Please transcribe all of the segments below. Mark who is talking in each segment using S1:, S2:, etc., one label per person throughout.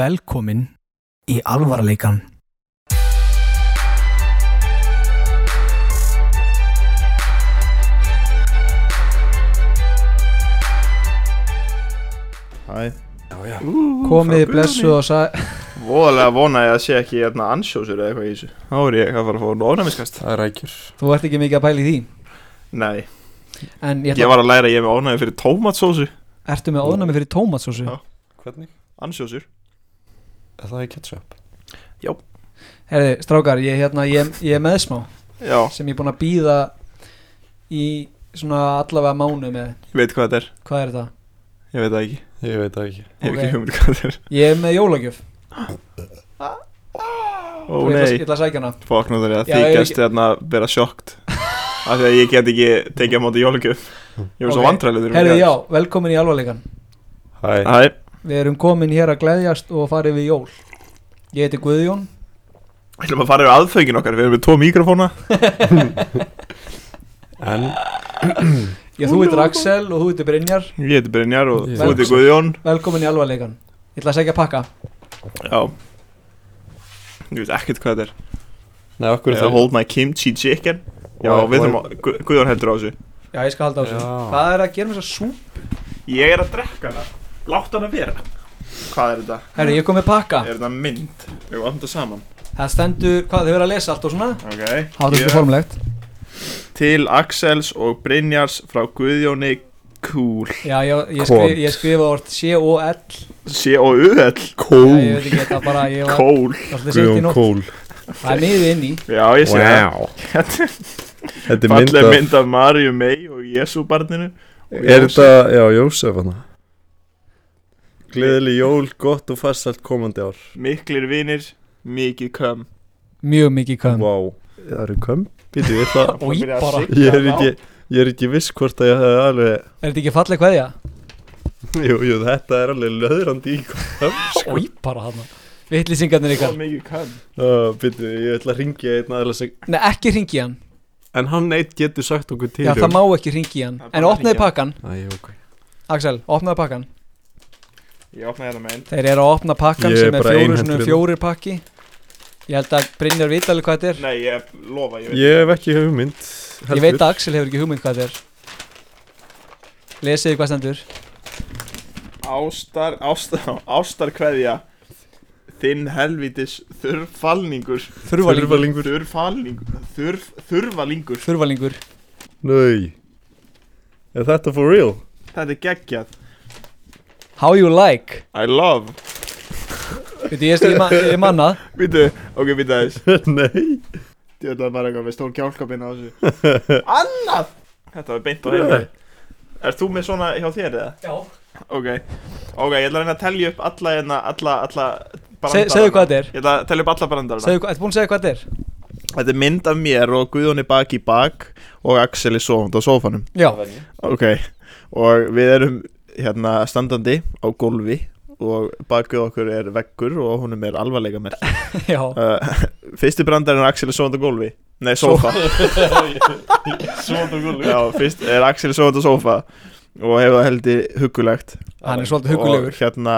S1: Velkomin í alvarleikan.
S2: Æ,
S3: Komið blessu og sæ
S2: voðalega vona ég að sé ekki hérna ansjósur eða eitthvað í þessu Þá er ég að fara að fá ónæmiskast
S4: Það er rækjur
S3: Þú ert ekki mikið að pæla í því
S2: Nei,
S3: En
S2: ég
S3: ég ætla,
S2: var að læra að ég er með ónæmi fyrir tómatsósu
S3: ertu með óðnami fyrir tómatsósu?
S2: Já.
S4: Hvernig?
S2: Ansjósur
S4: Er það í ketchup?
S3: Herði, strákar, ég, hérna, ég, ég er með smá
S2: Já,
S3: Sem ég er búin að býða í svona allavega mánu með
S2: ég veit hvað þetta er
S3: Hvað er þetta?
S2: Ég veit það ekki
S4: Ég veit það ekki
S2: Ég hef
S3: Ok.
S2: ekki hugmynd um hvað þetta er
S3: Ég er með jólagjöf
S2: Ó
S3: og ég ætla- Ég
S2: nei,
S3: ætla að sækja hana
S2: fokk nú þegar
S3: Já,
S2: ég
S3: ég er
S2: þykast hérna að vera sjokkt Af því að ég get ekki tekið á móti jólugjöf Ég var svo
S3: Ok.
S2: vandræðilegur
S3: Herði, já, velkomin í alvarleikan
S4: Hæ
S2: Æ,
S3: Við erum komin hér að gleðjast og farið við jól Ég heiti Guðjón
S2: ætlum að fara yfir aðföngin okkar Við erum með tvo mikrofóna
S4: En
S3: Já, þú heitir Axel og þú heitir Brynjar
S2: Ég heiti Brynjar og
S4: Ég
S2: þú heiti
S4: hugsa.
S2: Guðjón
S3: Velkomin í alvarleikan Ég ætla að sækja pakka
S2: Já Ég veit ekkert hvað þetta er
S4: Nei, okkur
S2: Eða Hold my kimchi chicken Já,
S4: Og-
S2: við
S4: og-
S2: þurfum að, Gu- Guðjón heldur á þessu
S3: Já, ég skal halda á þessu
S4: Já.
S3: Hvað er að gera með þessa sú
S2: Ég er að drekka hana Látt hana vera Hvað er þetta?
S3: Herri, ég kom með pakka
S2: Er þetta mynd? Við varum þetta saman
S3: Það stendur, hvað þau verður að lesa allt og svona
S2: Ok
S3: Háðustu formlegt
S2: Til Axels og Brynjars frá Guðjóni Kúl
S3: Já, ég, ég,
S4: Kóld.
S3: skrif, ég skrifa orð C-O-L
S2: C-O-U-L
S3: Já, Ég veit ekki, þetta bara, ég var
S2: Kól
S3: alltaf sent í nótt
S4: Kól
S3: Það er miðið inn í
S2: Já, ég sé það
S4: Þetta er mynd
S2: Falleg
S4: af
S2: mynd af Marju May og Jésu barninu
S4: Er þetta, já, Jósef hana Gleðileg jól, gott og farsalt komandi ár
S2: Miklir vinir, mikið köm
S3: Mjög mikið
S4: Vá
S3: köm
S4: Það eru köm Býtu, ég ætla
S3: Og í bara.
S4: Ég er ekki Ég er ekki viss hvort að ég hefði alveg
S3: Er þetta ekki falleg kveðja?
S4: Jú, jú, þetta er alveg löðrandi í sko. köm
S3: Ói, bara hann Vittlýsingarnir
S2: Svo
S3: ykkar
S2: mikið köm
S4: Býtu, ég ætla að ringja einn aðra sem
S3: Nei, ekki ringi hann
S4: En hann eitt getur sagt okkur til um-
S3: Já, það má ekki ringi hann
S2: Það er
S3: En
S2: bara að
S3: opnaði
S2: hringja.
S3: pakkan
S4: Æ, ok
S3: Axel, opnaði pakkan
S2: Ég opnaði þetta með einn
S3: Þeir eru að opna pakkan
S4: Ég er
S3: sem er
S4: bara
S3: fjóru
S4: einhentur
S3: svona
S4: hérna.
S3: fjóri pakki Ég held að Brynjar vita alveg hvað þetta
S2: Nei, ég lofa, ég veit
S4: Ég hef ekki hugmynd
S3: er Ég veit að Axel hefur ekki hugmynd hvað þetta er Lesiði hvað stendur
S2: Ástar, ástar, ástar kveðja Þinn helvitis þurrfalningur
S3: Þurfalingur
S2: Þurrfalningur Þurf, Þurfalingur
S3: Þurfalingur
S4: Nei Er þetta for real?
S2: Þetta er geggjað
S3: How you like
S2: I love
S3: Veitu, ég, ég, man, ég manna
S2: Vítu, ok, vítu aðeins
S4: Nei
S2: Ég ætlaði bara eitthvað með stór gjálkabinn á þessu Annað Þetta var beint á heimli Er þú með svona hjá þér eða?
S3: Já
S2: Ok Ok, ég ætla að reyna að telja upp alla hérna Alla, alla brandarana.
S3: Segðu hvað þetta er
S2: Ég ætla að telja upp alla brandarana
S3: Segðu, Ertu búin að segja hvað þetta er?
S2: Þetta er mynd af mér og Guðjóni bak í bak Og Axel er sofandi á sófanum
S3: Já
S2: Ok, og við erum hérna standandi á gólfi og bakið okkur er veggur og honum er alvarleika með
S3: Já
S2: uh, Fyrsti brandarinn er Axel sofandi á gólfi Nei, sófa
S4: Svona gullu
S2: Já, fyrst er Axel sofandi á sófa og hefur það heldur huggulegt
S3: Hann er svolítið hugulegur
S2: Og hérna,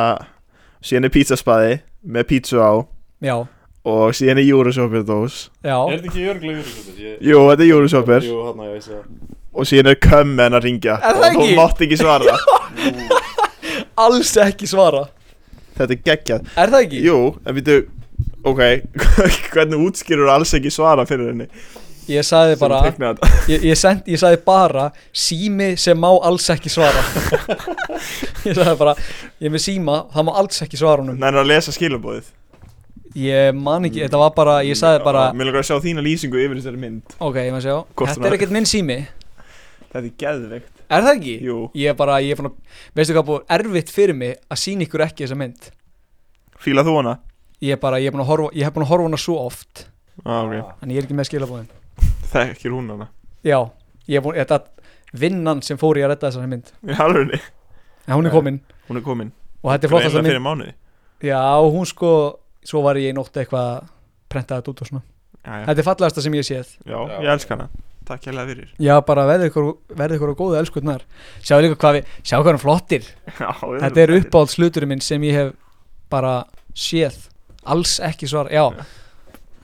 S2: síðan er pítsaspaði með pítsu á
S3: Já
S2: og síðan er júrusopjardós
S3: Já
S4: þetta ekki jörglegur þetta? Ég...
S2: Jú, þetta er júrusopjar
S4: Jú, hann að ég veist það
S2: og síðan er kömm með hann að ringja
S3: Er það
S2: og þú
S3: ekki?
S2: mátt ekki svara
S3: Alls ekki svara
S2: Þetta er geggjað
S3: Er það ekki?
S2: Jú, en við ok, hvernig útskýrur alls ekki svara fyrir henni
S3: Ég sagði
S2: Sem
S3: bara
S2: teiknaði þetta.
S3: ég, ég, send, ég sagði bara Sími sem má alls ekki svara Ég sagði bara Ég er með síma Það má alls ekki svara honum
S2: Nær að lesa skilabóðið
S3: Ég man ekki Þetta var bara Ég sagði bara
S2: Mér langar að sjá þína lýsingu yfir þessari mynd
S3: Ok, ég maður sjá
S2: Hvort hún
S3: Þetta er
S2: er-
S3: ekkert minn sími
S2: Þetta er geðveikt
S3: Er það ekki?
S2: Jú.
S3: Ég er bara, ég er fann að, veistu hvað búið erfitt fyrir mig að sína ykkur ekki þessa mynd
S2: Fíla þú hana?
S3: Ég er bara, ég er búin að horfa, ég hef búin að horfa hana svo oft
S2: Ah, ok
S3: En ég er ekki með skilabóðin
S2: Þekkir hún hana
S3: Já, ég er búin, þetta vinnan sem fór ég að redda þessa mynd
S2: Í alvegni
S3: En hún er
S2: Já.
S3: komin
S2: Hún er komin
S3: og þetta er flott þessa
S2: Greinilega
S3: mynd
S2: fyrir mánuði
S3: Já, hún sko, svo var ég í nótt eitthvað að prenta þetta út og svona
S2: Já, já.
S3: Þetta er fallegasta sem ég hef séð
S2: já, ég elska hana Takk hérlega fyrir
S3: Já, bara verði ykkur, verði ykkur á góðu elskutnar Sjáðu líka hvað við, sjáðu hvað hann flottir
S2: já,
S3: Þetta er uppáhaldsluturinn minn sem ég hef bara séð alls ekki svara, já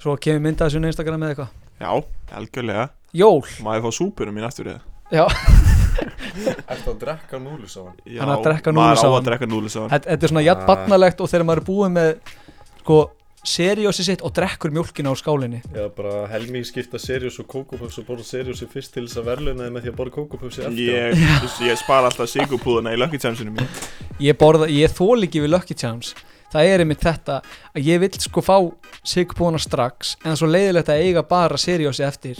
S3: svo kemur mynda þessu á Instagram eða eitthvað
S2: Já, algjörlega
S3: Jól,
S2: Má ég fá súpunum mín aftur eða?
S4: Ertu að drekka núlu saman?
S2: Já,
S3: Hann að drekka
S2: Maður á
S3: núlusafann.
S2: að drekka núlusafann
S3: þetta, þetta er svona jafn
S4: Ah.
S3: barnalegt og þegar maður er búið með sko, seriósi sitt og drekkur mjólkina úr skálinni
S4: Já, bara helming skipta Sirius og Kókópöfs og borða Sirius fyrst til þess að verðluna þið með því að borða Kókópöfsi eftir á.
S2: Ég, ég spara alltaf sigurpúðuna í lökkitjamsinu mín
S3: ég borða, ég þól ekki við Lucky Charms það er einmitt þetta að ég vil sko fá sigpóna strax en svo leiðilegt að eiga bara seriósi eftir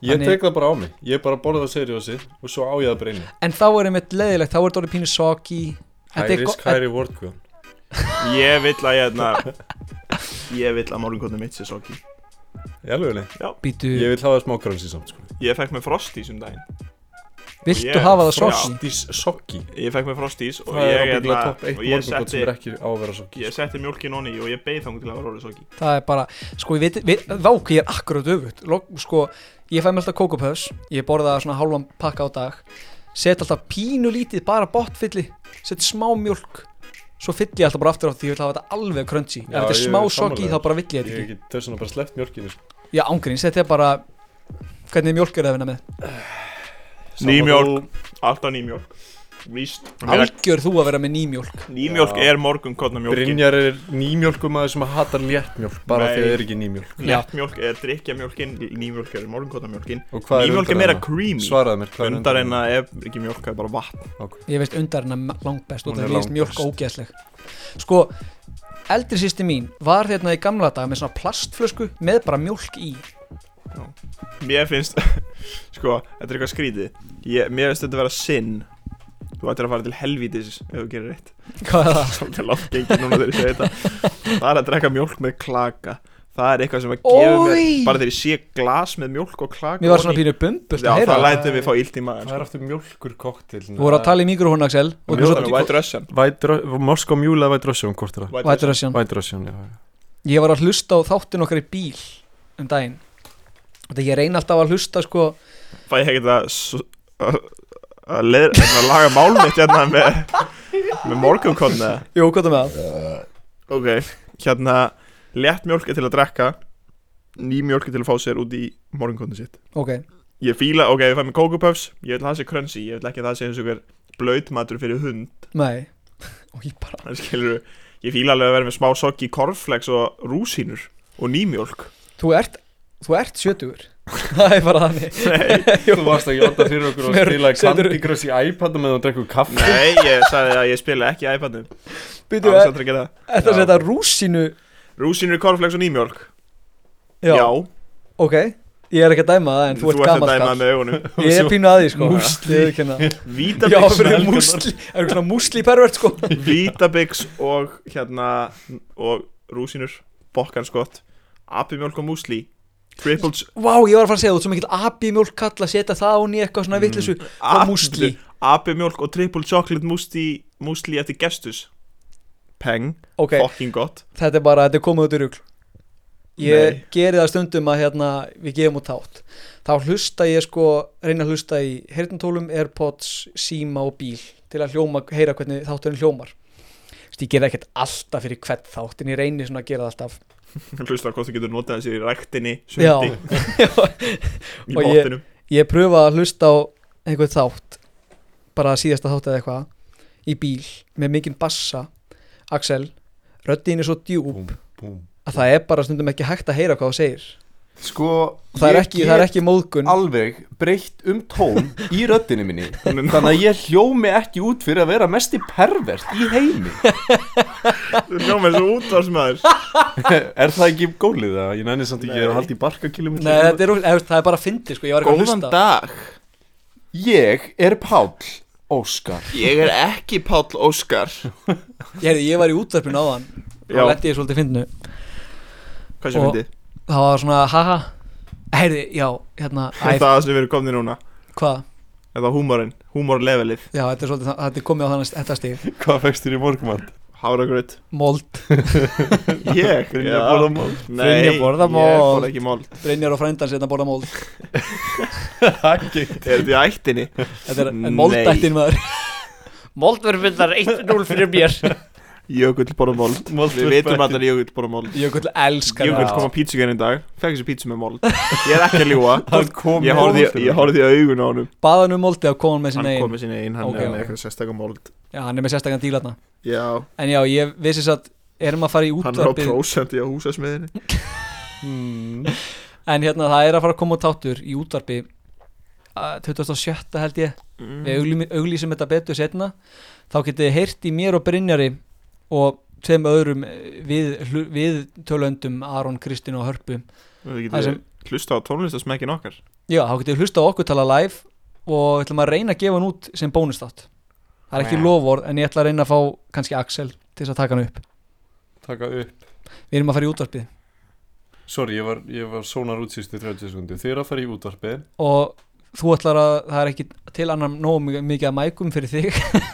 S4: Ég
S3: Þannig-
S4: tek það bara á mig, ég bara borða Siriusi og svo á ég að breyna
S3: en þá er einmitt leiðilegt, þá er þetta orðið pínu soggy Þetta
S4: High
S3: er
S4: risk,
S3: go-
S4: high reward sko. guð
S2: Ég vill að ég hérna Ég vill að morgunkotnum mitt sé soggy
S4: Í alvegni,
S3: Býtu,
S4: ég vil hafa smá krönsi samt sko
S2: Ég fekk mér frostís um daginn
S3: viltu
S2: ég-
S3: hafa það
S2: já.
S3: soggy?
S4: Dís sokki
S2: Ég fekk mér frostís og
S4: Það er
S2: ég,
S4: ábyggilega
S2: hérna,
S4: topp 1
S2: og ég
S4: morgunkot
S2: setti
S4: sem er ekki á að vera sokki
S2: Ég setti mjólkin onni í og ég beið þangu til að vera orðið soggy
S3: það er bara, sko ég veit, veit vák ég er akkurat öfugt Lok, sko, ég fæ mér alltaf kókupöfs ég borða svona hálfan pakka á dag set alltaf pínu lítið, bara botfylli set smá mjölk svo fyll ég alltaf bara aftur á því ég vil hafa þetta alveg crunchy ef
S4: Já,
S3: þetta er
S4: ég er
S3: smá
S4: sammála
S3: soggy
S4: þér.
S3: þá bara vill ég
S4: Ég
S3: þetta
S4: hef
S3: ekki
S4: ekki þess vegna bara sleppt mjölkinu sko
S3: já ángríns, þetta er bara hvernig mjölk er það að vinna með
S4: Sama
S2: Nýmjólk. Alltaf nýmjólk Víst
S3: algjör þú að vera með nýmjólk
S2: Nýmjólk
S4: Já.
S2: er morgunkotna
S4: þú-
S2: mjólkin
S4: Brynjar er nýmjölkumæður sem hatar léttmjólk bara
S2: Nei.
S4: því að það er ekki nýmjólk
S2: Léttmjólk er drikkjamjólkin Nýmjólk er morgunkotna mjólkin
S4: Og hvað er
S2: Nýmjólk er meira
S4: undarrenna?
S2: creamy
S4: Svaraðu mér, hvað er hérna?
S2: Undar en að ef ekki mjólk er bara vatn
S3: ég veist undar hennar langbest og
S4: Hún
S3: það
S4: er
S3: finnst mjölk
S4: langbest.
S3: ógeðsleg sko, eldri sýsti mín var hérna í gamla dag með svona plastflösku með bara mjölk í
S2: Mér finnst Sko, þetta er eitthvað skrítið ég, Mér finnst þetta vera sinn Þú ættir að fara til helvítis ef þú gerir rétt
S3: hvað er það?
S2: Svolítið langt gengið núna þegar ég segi þetta Það er að drekka mjólk með klaka Það er eitthvað sem að
S3: Ói!
S2: gefa mér Bara þegar ég sé glas með mjólk og klaka
S3: Mér var svona
S2: ofan í-
S3: pínu bumbult
S2: Já,
S3: að heyra
S2: það
S3: það.
S2: lætur við fá ílt í sko. maður
S4: Það er aftur mjólkur koktil
S3: Þú voru að tala í mikrofónu Axel
S2: Mér
S3: og
S2: finnst
S3: þú svo
S2: þetta White Russian
S4: Moskó mjúla um eða White Russian, hvort er það?
S2: White
S3: Vætur Russian
S4: White Russian, um, já, já
S3: Ég var að hlusta á þáttin okkar í bíl um daginn Þetta ég reyna alltaf að hlusta sko
S2: Fæ ég ekkert að s- að- að leið- að laga mál mitt hérna með með morgunkonna
S3: Jú, hvað það með það?
S2: Ok, hérna Létt mjólk er til að drekka Ný mjólk er til að fá sér út í morgunkonna sitt
S3: Ok,
S2: Ég fíla, ok, ég fæ mér kókupuffs Ég vil að það sé krönsi, ég vil ekki að það sé eins og hver Blautmatur fyrir hund
S3: nei Og ég bara
S2: Það skilur Ég fíla alveg að vera með smá sokk í korflex og rúsínur Og nýmjólk
S3: Þú ert, þú ert sjötugur Það er bara þannig
S2: Nei,
S4: Þú varst ekki alltaf fyrir okkur að
S3: Mér-
S4: spila
S3: setur-
S4: Candy Crush í iPadum eða að drekku kaffi
S2: nei, ég sagði að ég spila ekki í iPadum
S3: Býtu,
S2: Alls aldrei að gera það
S3: þetta
S4: Já.
S3: að setja rúsinu
S2: Rúsínur, korflex og nýmjólk
S3: Já,
S2: Já,
S3: ok Ég er ekki að dæma það en þú ert gammal
S2: að dæma
S3: kall
S2: með augunum
S3: Ég er pínu aði sko
S4: Músli.
S3: Ég viðurkenni það. Já,
S2: Vítabix,
S3: fyrir músli Er svona músli pervert sko
S2: Vítabix og hérna Og rúsínur, bokkanskott Apimjólk og músli Triple Ch-
S3: Vá, ég var að fara að segja þú ert svo mikill abi mjólkall að setja það hún í eitthvað
S2: Mm.
S3: svona vitleysu og
S2: Ab-
S3: músli
S2: Abimjólk og triple chocolate músli, músli eftir gestus Peng,
S3: Ok,
S2: fucking gott
S3: þetta er bara, þetta er komið út í rugl Ég
S2: Nei.
S3: geri það stundum að hérna, við gefum út þátt Þá hlusta ég sko, reyna að hlusta í heyrnatólum, airpods, síma og bíl Til að hljóma, heyra hvernig þátturinn hljómar Þess, Ég gera ekkert alltaf fyrir hvert þátt En ég reyni svona að gera það alltaf
S2: Hlusta hvort þú getur notað þessi í ræktinni Sundi,
S3: Já
S2: í
S3: og ég-
S2: bóttinum
S3: Ég pröfa að hlusta á einhvern þátt bara síðasta þátt eða eitthvað í bíl með mikinn bassa Axel, röddin er svo djúb
S4: Búm, búm
S3: að það er bara stundum ekki hægt að heyra hvað þú segir
S4: Sko,
S3: og það er ekki, það er ekki móðgun
S4: alveg breytt um tón í röddinu minni Þannig að ég hljómi ekki út fyrir að vera mest í pervert í heimi
S2: Þú hljóma þessu útvarsmaður
S4: Er það ekki gólið það? Ég nenni samt ekki, ég er að halda í barkakilometri
S3: Nei, þetta er, eða, það er bara fyndi sko, ég var ekki að
S2: Góðan
S3: hlusta
S2: dag,
S4: Ég er Páll Óskar
S2: ég er ekki Páll Óskar
S3: ég, heyrði, ég var í útvarpinu á þann
S2: Já.
S3: og lendi ég svolítið fyndinu
S2: Hvað sem
S3: Og-
S2: fyndið?
S3: það var svona, haha heyrði, já, hérna, æ,
S2: Það sem við erum komni núna
S3: hvað
S2: Þetta húmorinn, húmorlevelið
S3: já, þetta er svolítið, það- þetta er komið á þannig þetta stig
S4: Hvað fækstur í morgumann?
S2: Háragröð
S3: mold,
S2: Ég,
S4: Brynja
S2: já.
S4: borða mál
S2: Nei,
S3: Brynja borða
S2: Ég
S3: mold.
S2: borða ekki mál
S3: Brynjar og frændan setna borða mold
S2: Er þetta í ættinni?
S3: þetta er
S2: Nei.
S3: moldættin maður mold verður fundar 1-0 fyrir mér
S2: Jökull borða mold Við vitum allir að Jökull borða mold
S3: Jökull elskar
S2: Jökull
S3: það.
S2: kom á pítsugarinn í dag Fekk þessi pítsu með mold Ég er ekki að ljúa
S4: Hann kom
S2: Ég
S4: með
S2: horfði
S4: mold.
S2: ég horfði í augun á honum
S3: Bað hann um moldið og kom hann með
S2: Hann
S3: sinna
S2: kom
S3: einn
S2: með sinni einn Hann
S3: Ok,
S2: er með
S3: ok.
S2: eitthvað sérstakka mold
S3: Já, hann er með sérstakann díl þarna
S2: Já
S3: En já, ég vissi þess að erum að fara í
S2: Hann er á
S3: útvarpið
S2: prósenti á húsasmiðinni
S4: Hmm.
S2: Mm.
S3: En hérna, það er að fara að koma út tátur í útvarpi uh, 2007 held ég
S2: Mm.
S3: Við auglý- auglýsum þetta betur setna Þá getið þið heyrt í mér og Brynjari og tveim öðrum eh, við, hlu- við tölöndum Aron, Kristín og Hörpu
S2: Við getum
S3: Það sem-
S2: hlusta á tónlistasmekkin okkar
S3: Já, þá getið þið hlusta á okkur tala live og ætlum að reyna að gefa hann út sem bónustátt Það er ekki
S2: Meh.
S3: lofvord en ég ætla að reyna að fá kannski Axel til þess að taka hann upp
S4: Taka upp
S3: Við erum að fara í útvarpið
S4: Sorry, ég var, ég var sónar út sístu 30 sekundi Þið eru að fara í útvarpið
S3: og þú ætlar að það er ekki til annar nóg mikið að mækum fyrir þig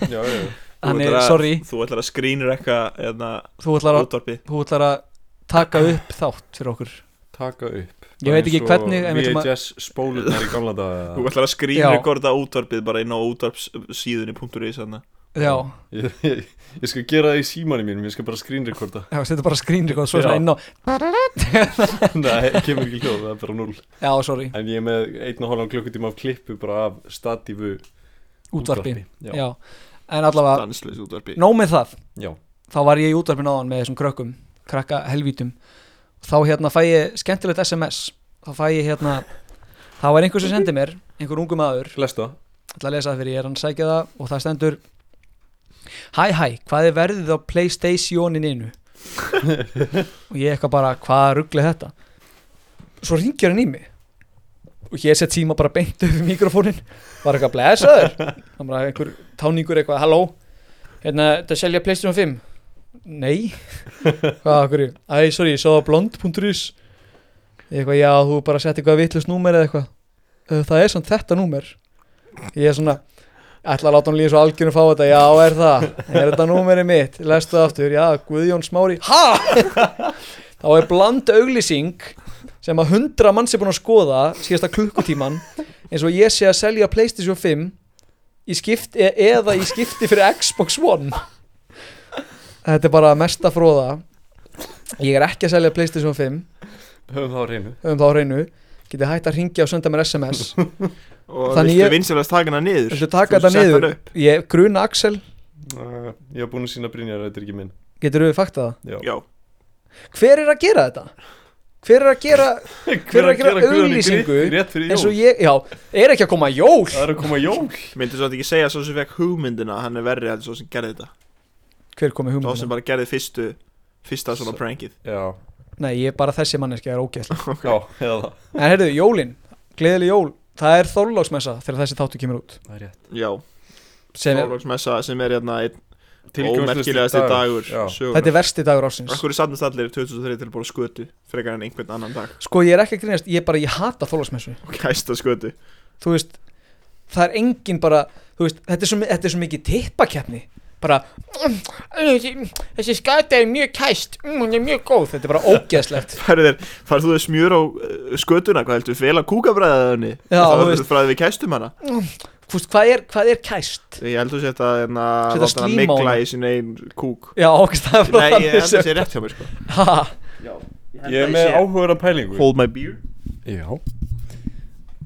S4: Já, já, já
S3: Þannig,
S2: ætlar að-
S3: sorry,
S2: Þú ætlar að skrýnir eitthvað hérna, eða
S3: þú ætlar, að,
S2: útvarpi
S3: þú ætlar að taka upp þátt fyrir okkur
S4: Taka upp
S3: Ég veit ekki hvernig, en við ætlum að-
S4: VHS spólunar í gamla daga
S2: Þú ætlar að
S3: Já.
S2: skrýnrekorda útvarpið bara inn á útvarpssíðunni.is þarna.
S3: Já,
S4: ég, ég, ég skal gera það í símanum mínum Ég skal bara screenrekorda
S3: já setja bara skrýnrikóð svo
S4: Já.
S3: svona inn á
S4: Nei, kemur ekki hljóð, það er bara null
S3: Já, sorry,
S4: En ég er með einn og hálfan klukkutíma af klippu bara af statífu
S3: útvarpi
S4: Já,
S3: Já, en allavega,
S2: Stanslaus útvarpi
S3: nóg með það
S4: já.
S3: þá var ég í útvarpinu áðan með þessum krökkum krakka helvítum þá hérna fæ ég skemmtilegt SMS þá fæ ég hérna þá er einhver sem sendi mér, einhver ungu maður
S4: Lesta
S3: ég ætla að lesa það fyrir ég er hann að sækja það og það stendur Hæ hæ, hvað er verðið á Playstationinu? og ég eitthvað bara, hvað ruggli þetta? Svo ringir hann í mig og ég sett síma bara beint upp í mikrofónin var eitthvað blessaður hann bara einhver táningur eitthvað, halló hérna, þetta selja Playstation 5 Nei Hvað, af hverju? Æ, sorry, ég sá það á blond.is Ég eitthvað, já, þú bara sett eitthvað vitlust númer eða eitthvað "Eh, Það er samt þetta númer Ég er svona Ætla að láta hann líða svo algjörnum fá þetta Já, er það, er þetta númerið mitt Lestu það aftur, já, Guðjón Smári Ha! Þá er bland auglýsing sem að hundra manns er búin að skoða síðasta klukkutíman eins og ég sé að selja Playstation 5 í skipti, e eða í skipti fyrir Xbox One Þetta er bara mesta fróða Ég er ekki að selja Playstation 5
S4: Höfum það á reynu
S3: höfum þá á hreinu Getið hægt að ringja og senda mér SMS
S2: Og
S3: Þannig
S2: viltu
S3: ég-
S2: ég... vinsalast taka hana niður
S3: Þú taka
S2: Þú
S3: þetta
S2: sett
S3: niður
S2: hann upp.
S3: Ég gruna Axel,
S4: uh, Ég hef búin að sína Brynjar, þetta er ekki minn
S3: getur við fakta það?
S4: Já,
S2: Já,
S3: Hver er að gera þetta? Hver er að gera Hver er að gera
S4: Guðjóni
S3: auglýsingu
S4: grýtt Rétt fyrir
S3: eins og
S4: jól
S3: ég, já, er ekki að koma jól
S4: Það er að koma jól
S2: myndi svo ekki segja svo sem fekk hugmyndina að Hann er verri heldur svo sem gerði þetta
S3: Hver komið
S2: Svo sem
S3: hugmyndina?
S2: bara gerði fyrstu Fyrsta svona prankið
S4: Já,
S3: Nei, ég er bara þessi manneskja er ógæsla
S4: já, eða það
S3: En heyrðu, jólin, gleðileg jól Það er þorláksmessa þegar þessi þáttu kemur út
S4: Það er rétt
S2: Já,
S3: sem,
S2: Þorlóksmessa sem er hérna einn
S4: Tilgangslausti
S2: ómerkilegasti dagur,
S4: dagur, já.
S2: dagur
S3: Þetta er versti dagur ársins
S2: Akkur er sannast allir 2003 til að bóla skötu Frekar en einhvern annan dag
S3: Sko, ég er ekki að grínast, ég bara, ég hata þorláksmessu
S2: Og kæsta skötu
S3: þú veist það er engin bara, þú veist þetta er svo, mi- þetta er svo mikið tippakeppni bara "Mm, þessi skata er mjög kæst mm, hún er mjög góð, þetta er bara ógeðslegt
S2: Færðu þér, færðu þú þér smjur á uh, skötuna Hvað heldur, fela kúkabræðaðunni
S3: Já,
S2: Það
S3: þú
S2: var
S3: veist.
S2: frá því við kæstum hana
S3: Þú veist, hvað, er, hvað er kæst?
S2: Ég heldur sér þetta hérna
S3: Setja
S2: láta hana
S3: slím á
S2: Mikla
S3: hana.
S2: í sín einn kúk
S3: Já, ógst það er bara
S2: Nei, ég
S3: þannig
S2: heldur
S3: sem-
S2: sér rétt hjá mér sko
S3: Ha,
S4: Ég er með áhugaður að pælingu
S2: Hold my beer
S4: Já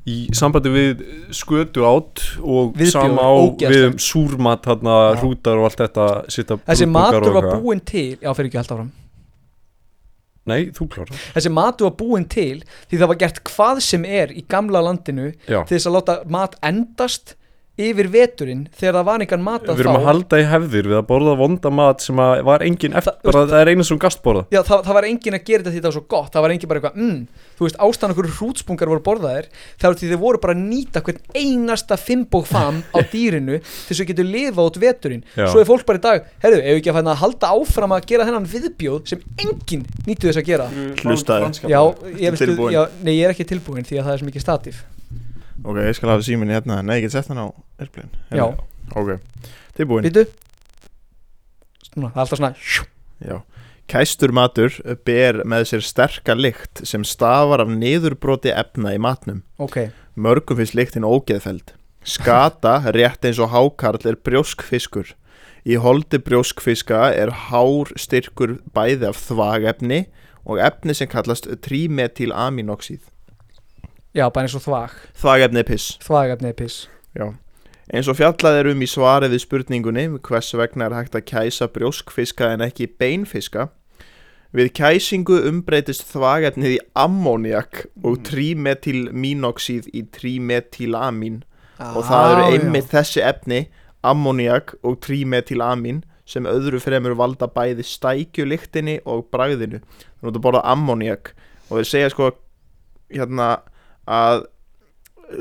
S4: Í sambandi við skötu átt og
S3: Viðbjóður,
S4: sama á við
S3: ógeðslegt.
S4: um súrmat þarna
S3: Já.
S4: hrútar og allt þetta sitta
S3: þessi
S4: brúðbukar
S3: matur
S4: og
S3: var
S4: eitthvað.
S3: búinn til já, fyrir ekki held áfram
S4: Nei, þú klára
S3: þessi matur var búinn til því það var gert hvað sem er í gamla landinu
S4: Já,
S3: til þess að láta mat endast yfir veturinn þegar það var engan mat að
S4: við erum að
S3: fá
S4: halda í hefðir við að borða vonda mat sem að var engin eftir,
S3: Það-
S4: bara það er eina sem gast borða
S3: Já, það, það var enginn að gera þetta því það var svo gott Það var enginn bara eitthvað, mm, þú veist, ástæðan okkur hrútspungar voru borðaðir Það var því þeir voru bara að nýta hvern einasta fimbók fam á dýrinu til þess að getur lifa út veturinn
S4: Já.
S3: Svo er fólk bara í dag, herðu, ef við ekki að fæna að halda áfram að gera þennan viðbjóð sem enginn nýttu þess að gera
S2: Hlustaðu.
S3: Já, ég, veistu,
S2: Tilbúin.
S3: já, nei, ég er ekki tilbúin því að það er svo mikið statíf
S2: Ok, ég skal hafa síminni hérna Nei, ég get sett hann á airplane
S3: Já,
S2: Ok, tilbúin
S3: býtu Svona, það er alltaf svona sjú.
S2: Já. Kæstur matur ber með sér sterka lykt sem stafar af niðurbroti efna í matnum.
S3: Ok,
S2: Mörgum finnst lyktin ógeðfeld. Skata, rétt eins og hákarl, er brjóskfiskur. Í holdi brjóskfiska er hár styrkur bæði af þvagefni og efni sem kallast trímetylaminoxíð.
S3: Já, bara eins og þvag
S2: Þvagefni er piss.
S3: Þvagefni er piss
S2: Já. Eins og fjallað er um í svarið við spurningunni hvers vegna er hægt að kæsa brjóskfiska en ekki beinfiska. Við kæsingu umbreytist þvagefnið í ammoniak og trímetylminoxíð í trímetylamin og það
S3: Já,
S2: eru
S3: já.
S2: einmitt þessi efni ammoniak og trímetylamin sem öðru fremur valda bæði stækjulyktinni og bragðinu þannig að þú borða ammoniak og þeir segja sko hérna að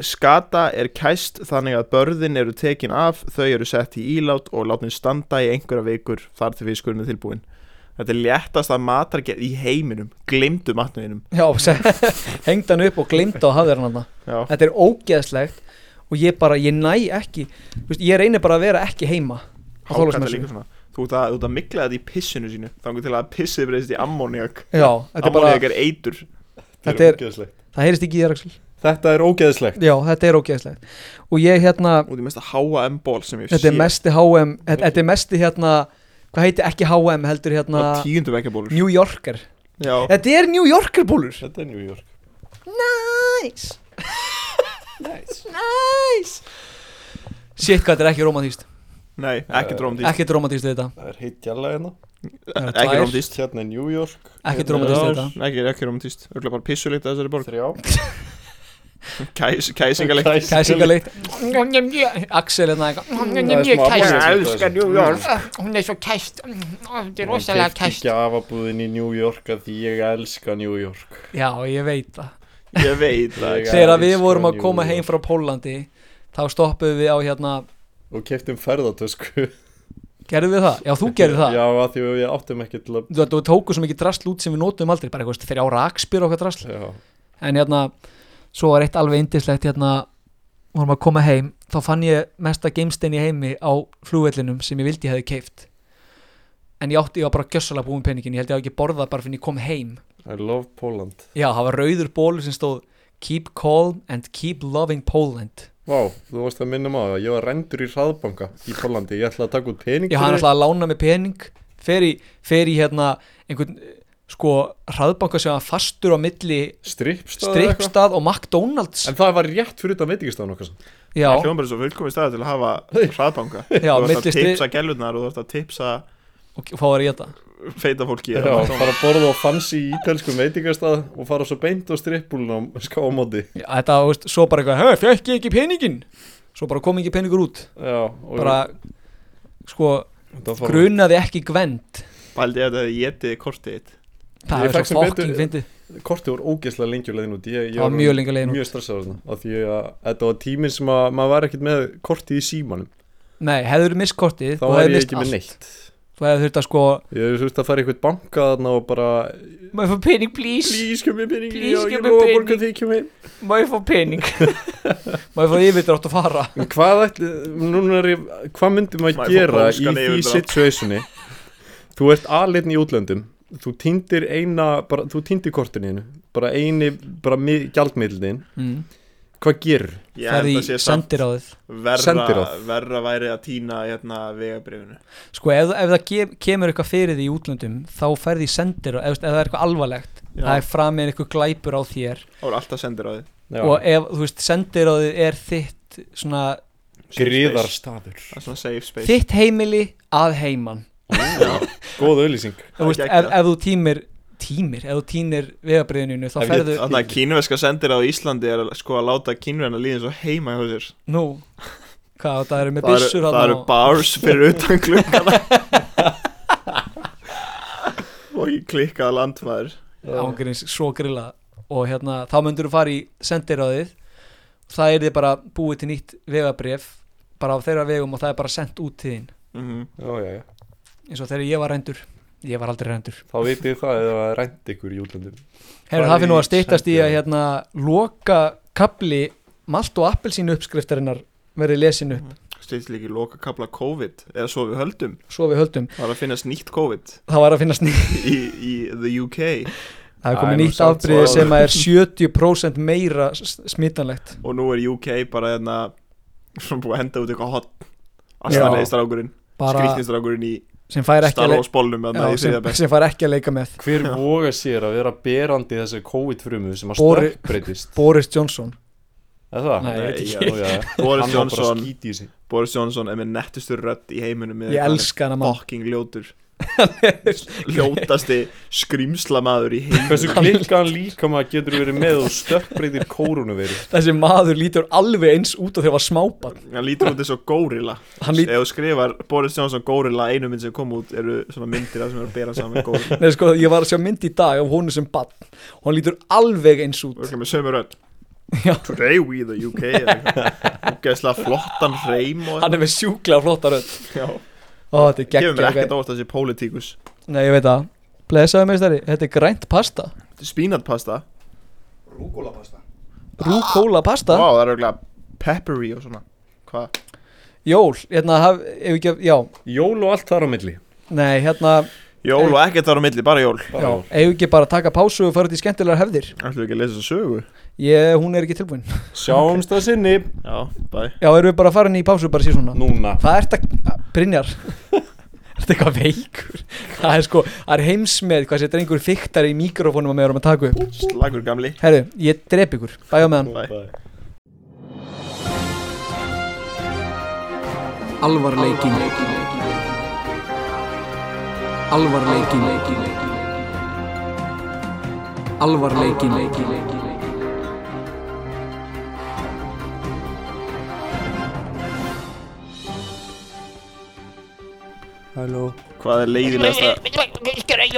S2: skata er kæst þannig að börðin eru tekin af þau eru sett í ílát og látin standa í einhverja vikur þar til fiskurinn er tilbúin þetta er léttast að matargerð í heiminum glimdu matnuðinum
S3: Já, se- hengdi hann upp og glimta og hafði hann hann
S2: já,
S3: Þetta er ógeðslegt og ég bara, ég næ ekki þú veist, Ég reynir bara að vera ekki heima á
S2: hákata
S3: Þorláksmessu
S2: líka svona þú ert að, þú ert að mikla þetta í pissinu sínu þangur til að pissið breyðist í ammoniak
S3: Já, þetta er bara,
S2: ammoniak er eitur
S3: Þetta er-
S4: ógeðslegt
S3: það heyrist ekki í þér Axel
S4: Þetta er ógeðslegt
S3: Já, þetta er ógeðslegt Og ég hérna,
S2: út í mesta HM ból sem ég
S3: þetta
S2: sé
S3: er mesti HM Þetta þetta er mesti hérna, hvað heiti ekki HM heldur hérna
S2: og tíundum ekki bólur
S3: New Yorker
S2: já,
S3: Þetta er New Yorker búlur
S4: Þetta er New York
S3: Nice Nice Nice Shit, hvað þetta er ekki romantíst
S2: nei, ekki drómdýst
S3: Ekki romantíst við þetta
S4: Það er heitt gjalla hérna
S3: það eru
S2: ekki
S3: tvær.
S2: drómdýst
S4: Hérna er New York
S3: Ekki
S4: Hérna er-
S3: romantíst við þetta
S2: ekki, ekki drómdýst örgulega bara pissulikt að þessari borg
S4: Þrjá
S2: Kæs, kæsingalikt
S3: Kæsingarleikt Axel hérna
S4: Það er smá
S5: Kæsingaleik.
S4: apparat.
S5: Ég
S6: elska New York.
S5: Hún er svo kæst. Þetta er
S4: Ég
S5: rosalega
S4: kefti
S5: kæst.
S4: ekki afabúðin í New York að því ég elska New York
S3: Já, ég veit það
S2: ég veit það
S4: Ég-
S2: ekki.
S3: Þegar að við
S4: sko,
S3: vorum að
S4: jú,
S3: koma
S4: jú.
S3: heim frá Pólandi Þá stoppuðum við á hérna
S4: Og um keftum ferðartösku
S3: Gerðum við það? Já, þú gerðir það
S4: Já, að um því við áttum ekki til að
S3: Þú veit, þú tóku svo mikið drasl út sem við notum aldrei Bara eitthvað þrjá rakspyr og eitthvað drasl
S4: Já,
S3: en hérna, svo var eitt alveg indislegt hérna, vorum að koma heim þá fann ég mesta geimstein í heimi á flugvellinum sem ég vildi ég hefði keift en ég átti, ég var bara gjössalega búin með peningin, ég held ég að ekki borðað bara fyrir en ég kom heim
S4: I love Poland
S3: já, það var rauður bólu sem stóð keep calm and keep loving Poland
S4: Vá, þú varst að minna maður, ég var rendur í hraðbanka í Pólandi, ég ætlaði að taka út pening
S3: ég hann alltaf að lána mig pening fer í, fer í hérna einhvern, eh, sko, hraðbanka sem var fastur á milli
S4: strippstað eða eitthvað.
S3: strippstað og McDonalds
S4: En það var rétt fyrir utan veitingastæðan okkar samt.
S3: já,
S2: Það hljóðum bara svo fullkomið staðið til að hafa hraðbanka
S3: Já,
S2: Þú ert
S3: milli
S2: að
S3: stri-
S2: tipsa gælunar og þú ert að tipsa
S3: og fá að ríða
S2: feita fólki
S4: Já, fara að borða á fancy ítalskum veitingastæð og fara svo beint á strippbúlunum skáamóti
S3: Já, þetta, þú veist, svo bara eitthvað, hei, fekk ég ekki peningin? Svo bara kom ekki peningur út
S4: Já, og
S3: Bara, sko,
S4: það fara-
S3: grunaði ekki gvend
S2: Bældi ég að þetta getið kortið þitt
S3: Það
S4: Ég
S3: er
S4: fekk
S3: svo
S4: sem betur-
S3: fokking fyndið
S4: Kortið voru ógeðslega lengi úr leiðin út ég, ég
S3: Það var mjög lengi á leiðinni út.
S4: Mjög stressað þarna af því að þetta var tíminn sem að maður var ekkert með kortið í símanum
S3: Nei, hefur mist kortið
S4: Þá
S3: þú
S4: var
S3: hefðir
S4: ég
S3: misst
S4: ekki með
S3: allt.
S4: neitt
S3: Þú hefur þurft að sko,
S4: Ég þurfti að fara í eitthvað banka þarna og bara
S5: Má ég fá pening, please?
S4: Please, kemur mér pening,
S5: Please,
S4: já, ég
S5: give me
S4: lofa að
S5: pening.
S4: borga því, kemur
S5: Má ég fá pening?
S3: maður fór yfirdrátt að fara
S4: En hvað ætli, núna er ég, hvað myndum að
S2: Maður fór
S4: gera í
S2: bólskan
S4: því
S2: yfir það.
S4: situationi? Þú ert aðlitn í útlöndum, þú týndir eina, bara, þú týndir kortinu þínu, bara eini, bara gjaldmiðlinn,
S3: mm.
S4: hvað gerur?
S2: Ég held
S3: Ferði
S2: að sé
S3: í
S2: samt
S3: sendiráðið
S2: verra,
S4: sendiráð.
S2: verra væri að týna hérna vegabrifinu
S3: Sko, ef, ef það kem, kemur eitthvað fyrir því í útlöndum Þá ferði í sendiráð, ef, ef það er eitthvað alvarlegt
S2: Já.
S3: Það er framið eitthvað glæpur á þér
S2: Það voru alltaf sendiráði
S3: Og ef, þú veist, sendiráðið er þitt Svona,
S4: Griðarstaður
S2: Það er svona safe space
S3: þitt heimili að heiman
S4: Góð auðlýsing
S3: þú
S2: Það er
S3: veist, ef,
S2: geggjað.
S3: ef þú tímir tímir, ef þú tínir vegabriðinu þá ferðu,
S2: Þannig að kínverska sendiráði í Íslandi er sko að láta kínverna líðin svo heima hjá sér
S3: nú hvað, það eru með
S2: Það eru-
S3: byssur
S2: það eru bars fyrir utan klukkana Og ég klikkaði landmaður
S3: ángurins, svo grilla og hérna, þá myndur þú fara í sendiráðið það er þið bara búið til nýtt vegabrif bara á þeirra vegum og það er bara sendt út til þín
S2: mm
S4: Já, já, já
S3: eins og þegar ég var rendur ég var aldrei rendur
S4: Þá vitið þið það eða rænt ykkur í útlöndum
S3: Herra,
S4: Farið
S3: það fyrir nú
S4: í
S3: að steytast í að
S4: sendiráðið.
S3: hérna, loka kapli malt og appelsínu uppskriftarinnar verið lesin upp,
S2: Stýtt líki loka kapla COVID Eða svo við höldum
S3: svo við höldum
S2: Það var að finnast nýtt COVID
S3: það var að finnast ný
S2: í, í the UK
S3: Það er
S4: Æ,
S3: komið
S4: nú
S3: nýtt
S4: samt
S3: afbrið
S4: svo-
S3: sem að er 70% meira s- smitanlegt
S2: Og nú er UK bara hérna Svona búið að henda út eitthvað hot
S3: Já.
S2: Astanlega strákurinn
S3: bara
S2: skrýtnistrákurinn í
S3: sem fær ekki
S2: Star
S3: að
S2: Wars bólnum
S3: Já,
S2: þannig í
S3: sem,
S2: þriðja bekk
S3: sem fær ekki að leika með
S4: Hver voga sér að vera berandi í þessari COVID-frumu sem að
S3: Bori-
S4: stökkbreytist?
S3: Boris Johnson
S4: Er það?
S3: Nei, ég veit
S2: Nei,
S3: ekki.
S2: já.
S4: Nú, já, já.
S2: Boris
S4: Hann var bara að
S2: Johnson
S4: skýta í sig
S2: Boris Johnson er með nettustur rödd í heiminum með
S3: ég
S2: hvað hann er
S3: elska hana mann
S2: fucking ljótur ljótasti skrýmslamaður í heiminum
S4: Hversu klikkaðan líkama getur verið með og stökkbreytir kórunuveru?
S3: þessi maður lítur alveg eins út og þegar var smábann
S2: hann lítur út eins og górilla
S3: hann lít,
S2: ef þú skrifar Boris Johnson górilla einu mynd sem kom út eru svona myndir af sem eru að bera saman við górilla
S3: nei, sko, ég var að sjá mynd í dag af honum sem bann og hann lítur alveg eins
S2: og
S3: út
S2: ekki með sömu rödd
S3: Já.
S2: Today we the UK Úgeðslega flottan hreim og
S3: hann er með sjúklega flottar öll
S2: Já.
S3: Ó, þetta er
S2: Gefur mér ekkert
S3: geggjum
S2: óvart að þessi pólitíkus
S3: nei, ég veit það blessaðu meistari þetta er grænt pasta
S2: Spínatpasta
S3: rúkóla pasta
S2: Vá, það er auðvitað peppery og svona Hvað?
S3: jól hérna haf ef ekki já
S4: Jól og allt þar á milli
S3: nei hérna
S2: Jól og ekkert þar á milli, bara jól
S4: Bara jól.
S3: ef ekki bara taka pásu og fara til skemmtilegar hefðir
S2: Ætlum við ekki að lesa þessa sögu?
S3: ég hún er ekki tilbúin
S4: Sjáumst að sinni
S2: Já, bæ
S3: já erum við bara farin í pásu bara síðan svona
S4: Núna
S3: hvað ert að Brynjar Þetta er eitthvað veikur Það er sko, það er heimsmeð hvað sér drengur fyktar í mikrofónum að með erum að taka upp
S2: Slagur gamli
S3: Herru, ég drep ykkur, bæja með hann
S2: Bæ
S1: Alvarleikin Alvarleikin Alvarleikin
S4: Halló
S2: Hvað er leiðilegasta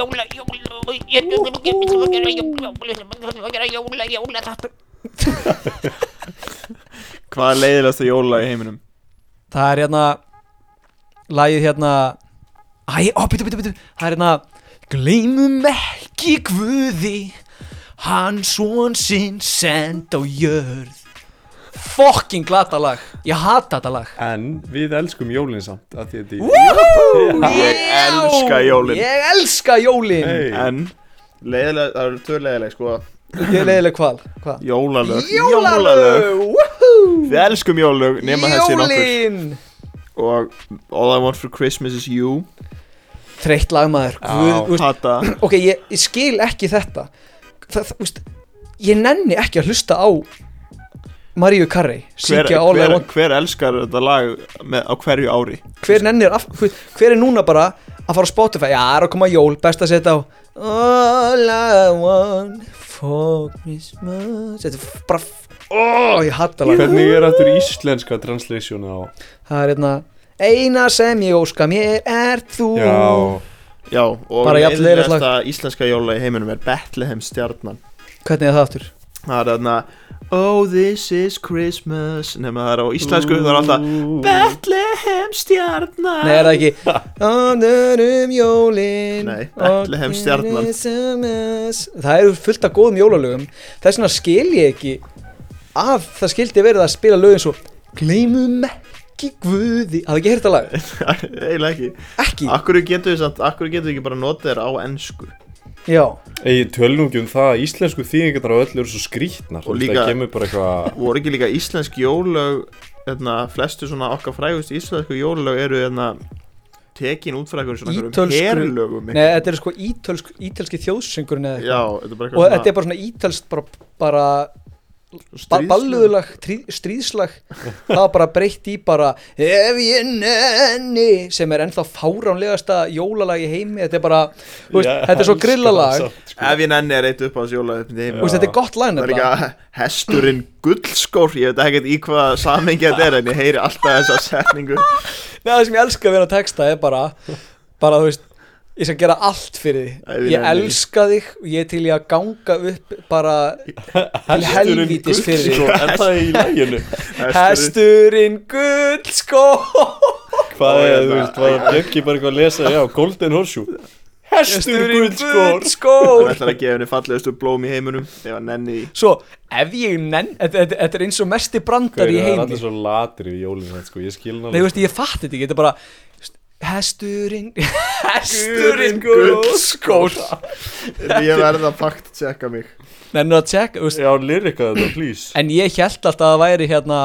S2: Hvað er leiðilegasta jóla í heiminum?
S3: Það er hérna Lægið hérna Æ, ó, bitu, bitu, bitu Það er hérna Gleimum ekki guði Hann svon sinn send á jörð Fucking glata lag Ég hata þetta lag
S4: En við elskum jólinn samt að því þetta
S3: Woohoo!
S2: Ég
S3: Já!
S2: elska jólin.
S3: Ég elska jólin
S4: Hey.
S2: En Leiðilega, það eru tvö leiðileg sko
S3: Ég er leiðileg hval Hvað?
S2: Jólalög
S3: Jólalög
S2: Við elskum jólalög Nefna þessi nokkur
S3: Jólin
S2: Og All I want for Christmas is you
S3: Þreytt lagmaður Guð,
S4: Já.
S3: þú veist,
S2: Hata
S3: Ok, ég, ég skil ekki þetta það, það, úst, Ég nenni ekki að hlusta á Maríu Carrey
S2: hver,
S3: Sýkja all I
S2: hver,
S3: want
S2: hver elskar þetta lag með, á hverju ári?
S3: Hver nennir af, hver, hver er núna bara að fara á Spotify Já, það er að koma jól Best að setja á All I want for Christmas Þetta er f- bara f- Ó, ég hatta lag
S4: Hvernig er aftur íslenska translation á?
S3: Það er hérna Eina sem ég óska mér er þú
S4: Já
S2: Já, og
S3: Bara jafn leiðilegt lag.
S2: leiðilegasta íslenska jóla í heiminum er Bethlehem stjarnan
S3: Hvernig er það aftur?
S2: Það er þarna Oh this is Christmas Nefna það er á íslensku Það er alltaf Bethlehem stjarnan
S3: Nei, er það ekki Ánur um jólin
S2: Nei, Bethlehem stjarnan.
S3: Það eru fullt af góðum jólalögum Þess vegna skil ég ekki að það skildi verið að spila lögin svo Gleimum ekki guði Hafðu ekki heyrt að lag?
S2: Eiginlega ekki
S3: Ekki?
S2: Akkur getur við samt Akkur getur við ekki bara notað þér á ennsku
S3: Já
S4: Egi tölum ekki um það að íslensku þýðingarnar á öllu eru svo skrýtnar
S2: Og líka-
S4: Það kemur bara eitthvað
S2: Voru ekki líka íslensk jólög Þarna flestu svona okkar frægust íslensku jólög eru þarna Tekin út frá einhverjum svona einhverjum
S3: Ítölsku-
S2: herlögum
S3: Nei, þetta er sko ítölsk, ítalski þjóðsöngurinn eða
S2: Já,
S3: eitthvað
S2: þetta er bara
S3: Og þetta er bara svona ítalskt bara, bara ba
S2: Stríðslög.
S3: balluðulag, trí- stríðslag það var bara breytt í bara ef ég nenni sem er ennþá fáránlegasta jólalag í heimi þetta er bara, þú veist, þetta er svo grillalag
S2: Ef ég nenni er eitt upp á þessu jólaug
S3: Þú veist, þetta er gott
S2: Það
S3: lag
S2: er
S3: nefnilega.
S2: líka hesturinn gullskór Ég veit ekkert í hvað samengi þetta er En ég heyri alltaf þessa setningu
S3: Nei, það sem ég elska við hennar texta er bara bara þú veist ég skal gera allt fyrir
S2: Æ,
S3: þig
S2: við
S3: ég
S2: nennum.
S3: elska þig og ég er til í að ganga upp bara til helvítis fyrir þig
S4: sko. Er það í læginu?
S2: Hesturinn-
S3: Hesturinn gullskó
S2: Ó,
S4: Hvað er, þú
S2: ég-
S4: veist, var Björki bara eitthvað að lesa, já, Golden Horseshoe Hestur guldskór
S2: Hann
S3: gullskór
S2: ætlar að gefa henni fallegustu blóm í heiminum Ef hann nenni því
S3: Svo, ef ég nenn þetta- Þetta þetta er eins og mesti brandar í
S4: Það er
S3: heimi
S4: allir svo latri við jólinn, þetta, sko, ég
S3: Nei,
S4: skil
S3: þú
S4: náttúrulega
S3: veist, ég fatt þetta ekki, þetta er bara Hesturinn Hesturinn gullskór
S2: Ég verða að fakt tjekka mig
S3: Nennir að tjekka, þú veist
S4: Já, lirika þetta, please
S3: En ég held alltaf að það væri hérna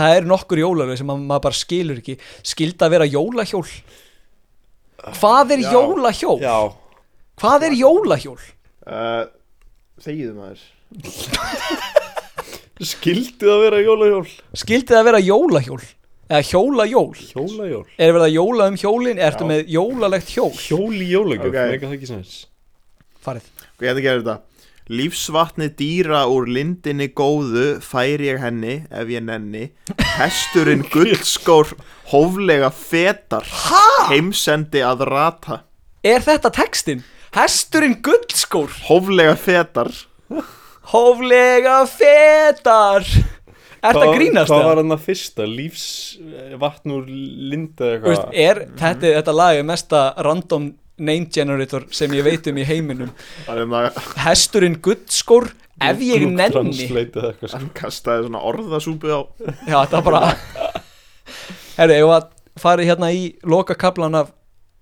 S3: það er nokkur jólalög sem ma- maður bara skilur ekki skilda að vera jólahjól hvað er
S2: Já.
S3: jólahjól?
S4: Já,
S3: hvað er jólahjól?
S2: uh, Þegiðu maður
S4: skildi það vera jólajól
S3: skildi það vera jólahjól? eða hjólajól?
S4: Hjólajól
S3: er verið að jóla um hjólin? ertu
S2: Já.
S3: með jólalegt hjól?
S4: Hjól í jólagjöf,
S2: Ok.
S4: okay. mega það ekki sens
S3: farið
S2: Hvað ég ætla að gera hérna þetta? Lífsvatni dýra úr lindinni góðu fær ég henni ef ég nenni Hesturinn gullskór hóflega fetar Heimsendi að rata
S3: er þetta textin? hesturinn gullskór
S2: Hóflega fetar
S3: Hóflega fetar Er þetta
S4: Hvað-
S3: grínast
S4: Hvað var
S3: það?
S4: hann að fyrsta? Lífs eh, vatn úr linda eða
S3: Veist,
S4: eitthvað
S3: er,
S2: Mhm.
S3: þetta, þetta lag er mesta random name generator sem ég veit um í heiminum
S2: Það er maður
S3: Hesturinn gullskór ef ég
S4: Google
S3: nenni Já,
S4: Translate eða eitthvað sko.
S2: hann kastaði svona orðasúpu á
S3: þetta er bara Herri, ég var farið hérna í loka kaplan af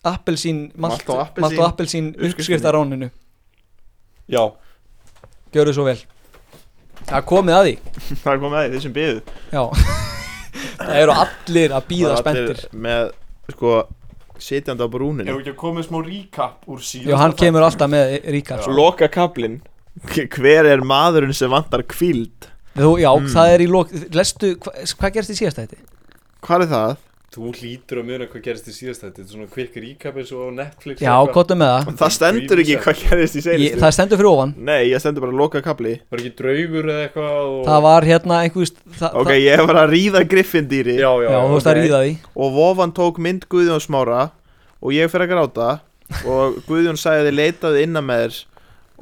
S3: appelsín malt,
S2: Malt og appelsín.
S3: malt og appelsín uppskriftaráninu
S4: Já,
S3: Gjörðu svo vel Það er komið að því
S2: Það er komið að því, þeir sem byðu
S3: Já Það eru allir að býða spenntir
S2: Með, sko, sitjandi á brúninu
S4: ef ekki að koma smá recap úr síðan
S3: Jú, hann kemur alltaf með ríka sko.
S2: Loka kaplinn Hver er maðurinn sem vantar kvíld?
S3: Þú, já, það er í lók Lestu, hva, hvað gerst í síðasta þetta?
S2: Hvað er það?
S4: Þú hlýtur að muna hvað gerist í síðast þetta Þetta er svona quick recap eins og á Netflix
S3: Já,
S4: eitthvað.
S3: gottum með það
S2: Það stendur ekki hvað gerist í
S3: ég,
S2: seinustu
S3: Það stendur fyrir ofan
S2: Nei, ég stendur bara að loka kapli
S4: Var ekki draugur eða eitthvað og...
S3: Það var hérna einhvers það,
S2: Ok, ég var að ríða griffindýri
S4: Já, já,
S3: það, Já, þú veist að
S2: ok.
S3: ríða því
S2: Og vofan tók mynd Guðjón Smára Og ég fyrir að gráta Og Guðjón sagði leitaðu innan með þér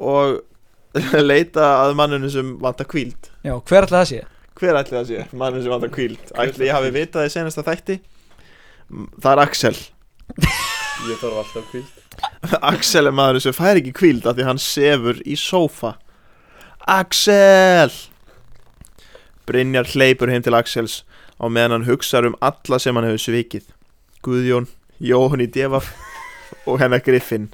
S2: Og leita að manninu sem vantar kvíld
S3: Já, hver ætla það sé?
S2: Hver ætli það sé? Manninu sem vantar kvíld Ætli ég hafi vitað þið senasta þætti Mm, Það er Axel
S4: Ég þarf alltaf kvíld
S2: Axel er maðurinn sem fær ekki kvíld af því hann sefur í sófa Axel Brynjar hleypur heim til Axels á meðan hann hugsar um alla sem hann hefur svikið Guðjón, Jóhann í Devaf og hennar Griffin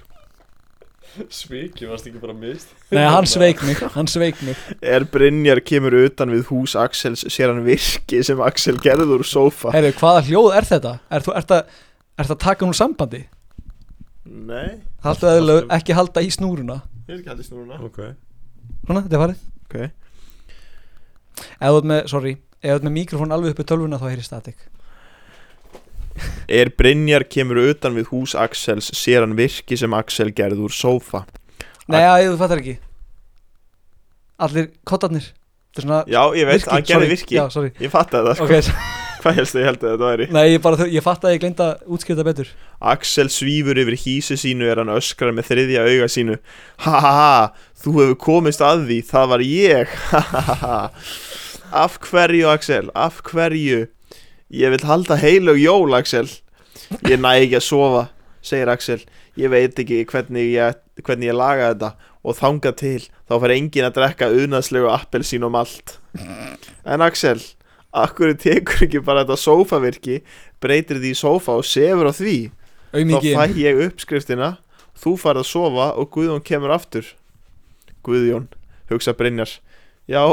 S4: Sviki, varst ekki bara mist
S3: Nei, hann sveik mig, hann sveik mig
S2: Er Brynjar kemur utan við hús Axels sér hann virki sem Axel gerður úr sófa
S3: Herru, hvaða hljóð er þetta? Er þú, ert það, ert það taka hún úr sambandi?
S2: Nei,
S3: Haltu eðlilegur, ekki halda í snúruna
S2: ég er ekki haldist núna
S4: Ok
S3: Svona, þetta er farið
S2: Ok,
S3: Ef þú ert með, sorry, ef þú ert með mikrofón alveg upp í tölvuna þá heyri statik
S2: Er Brynjar kemur utan við hús Axels sér hann virki sem Axel gerður úr sófa
S3: Nei, já, ég- þú fattar ekki Allir kottarnir Þetta er svona
S2: Já, ég veit, hann gerði
S3: sorry.
S2: virki
S3: Já, sorry
S2: Ég fattaði það sko
S3: Ok,
S2: Hvað helst þið held að þetta væri?
S3: Nei, ég, bara, þau- ég fatt að ég gleynda að útskýra þetta betur
S2: Axel svífur yfir hísi sínu er hann öskrar með þriðja auga sínu Ha ha ha, þú hefur komist að því, það var ég Ha ha ha ha Af hverju Axel, af hverju Ég vil halda heilög jól Axel Ég næ ekki að sofa, segir Axel Ég veit ekki hvernig ég, hvernig ég laga þetta Og þanga til, þá fær enginn að drekka unaðslegu appelsín og malt En Axel, akkur tekur ekki bara þetta sófavirki Breytir því í sófa og sefur á því þá
S3: Aumingi
S2: fæ ég uppskriftina þú farð að sofa og Guðjón kemur aftur Guðjón hugsa Brynjar já,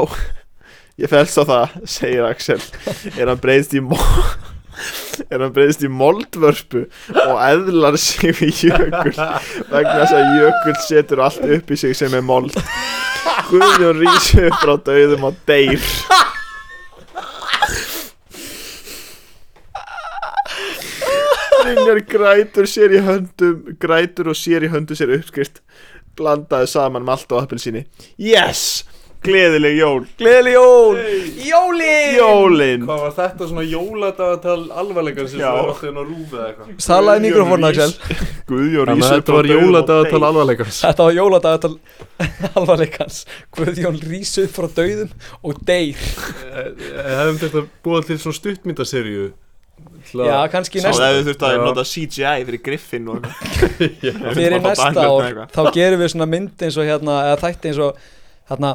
S2: ég fælst á það segir Axel er hann breyðst í mo- er hann breyðst í moldvörpu og eðlar sig í jökul vegna þess að jökul setur allt upp í sig sem er mold Guðjón rísur frá dauðum og deyr Brynjar grætur sér í höndum grætur og sér í höndum sér uppskrift blandaði saman malt og appelsíni Yes! Gleðileg jól
S3: Gleðileg jól Jólin
S2: Jólin
S4: Hvað var þetta svona jóladagatal alvarleikar sem
S2: Já.
S4: þú átti inn á rúfi hérna eða eitthvað?
S3: Salaði mikrofónu, Axel
S2: Guðjón
S4: Þannig
S2: Rísur
S4: að þetta var jóladagatal alvarleikars
S3: Þetta var jóladagatal Alvarleikans Guðjón rísuð frá dauðum og deyr
S4: Eh, Hefum þetta búið til svona stuttmyndaserju
S3: Já, kannski
S2: Sá
S3: næsta
S2: það hefur þurft að
S4: Já.
S2: nota CGI fyrir Griffin og eitthvað
S3: Fyrir
S2: Nota
S3: næsta
S2: Dagbjörn eða
S3: ár
S2: eitthvað.
S3: Þá gerum við svona mynd eins og hérna Eða þætti eins og hérna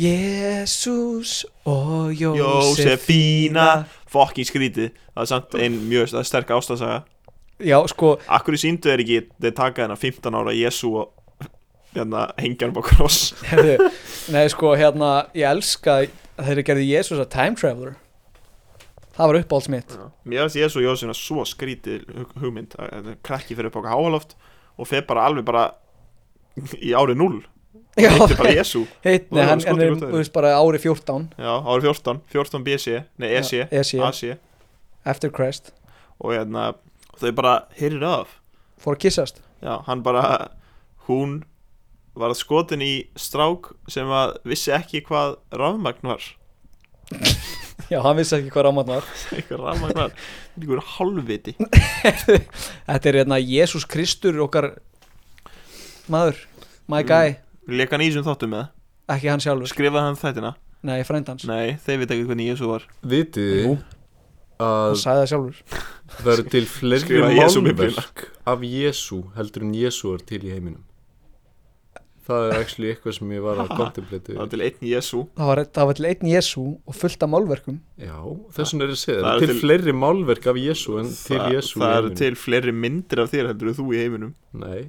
S3: Jésús og Jósef
S2: Jósefína Fokkin skrítið Það er samt einn mjög það er sterk ástæðsaga
S3: Já, sko
S2: Akkur í síndu er ekki Þeir taka hennar 15 ára Jésu og hérna hengja hann á kross
S3: Herðu, nei sko hérna, ég elska að þeir gerði Jésús að time traveler það var uppáhalds mitt
S2: Mér finnst ég svo Jósuna svo skrítið hug- hugmynd að- að krakki fyrir upp okkar háaloft og fer bara alveg bara í árið 0
S3: Já,
S2: Þetta er bara Jésu
S3: heit, nei,
S2: Þú
S3: hann,
S2: skotir
S3: hann er,
S2: gott að þér.
S3: þú veist, bara ári 14
S2: Já, árið 14, 14 BC Nei, E EC,
S3: Já, EC.
S2: AC
S3: After Christ,
S2: Og hérna, þau bara heyrir af
S3: fór að kissast
S2: Já, hann bara Hún var skotin í strák sem að vissi ekki hvað rafmagn var
S3: Já, hann vissi ekki hvað rámann var
S2: Eitthvað rafmagn var Einhver hálfviti
S3: Þetta er hérna Jésús Kristur okkar maður, my
S2: Mm.
S3: guy
S2: Leka hann í þessum þáttum með
S3: ekki hann sjálfur,
S2: Skrifaði hann þættina
S3: nei, frænd hans
S2: Nei, þeir veit ekki hvernig Jésu var
S4: Vitið þið
S3: Jú. hann
S4: að
S3: sagði það sjálfur
S4: það eru til fleiri
S2: Skrifaði Jesú Biblíuna.
S4: málverk af Jésu heldur en Jésu er til í heiminum Það er actually eitthvað sem ég var að
S2: Það
S4: kontemplati
S2: var til einn Jésu
S3: það var, það var til einn Jésú og fullt af málverkum
S4: Já, þess vegna er ég að segja
S2: Það
S4: Það
S2: eru
S4: eru til
S2: til-
S4: fleiri málverk af Jésu en til
S2: Þa-
S4: Jésu
S2: Það eru til fleiri myndir af þér heldur en þú í heiminum
S4: Nei,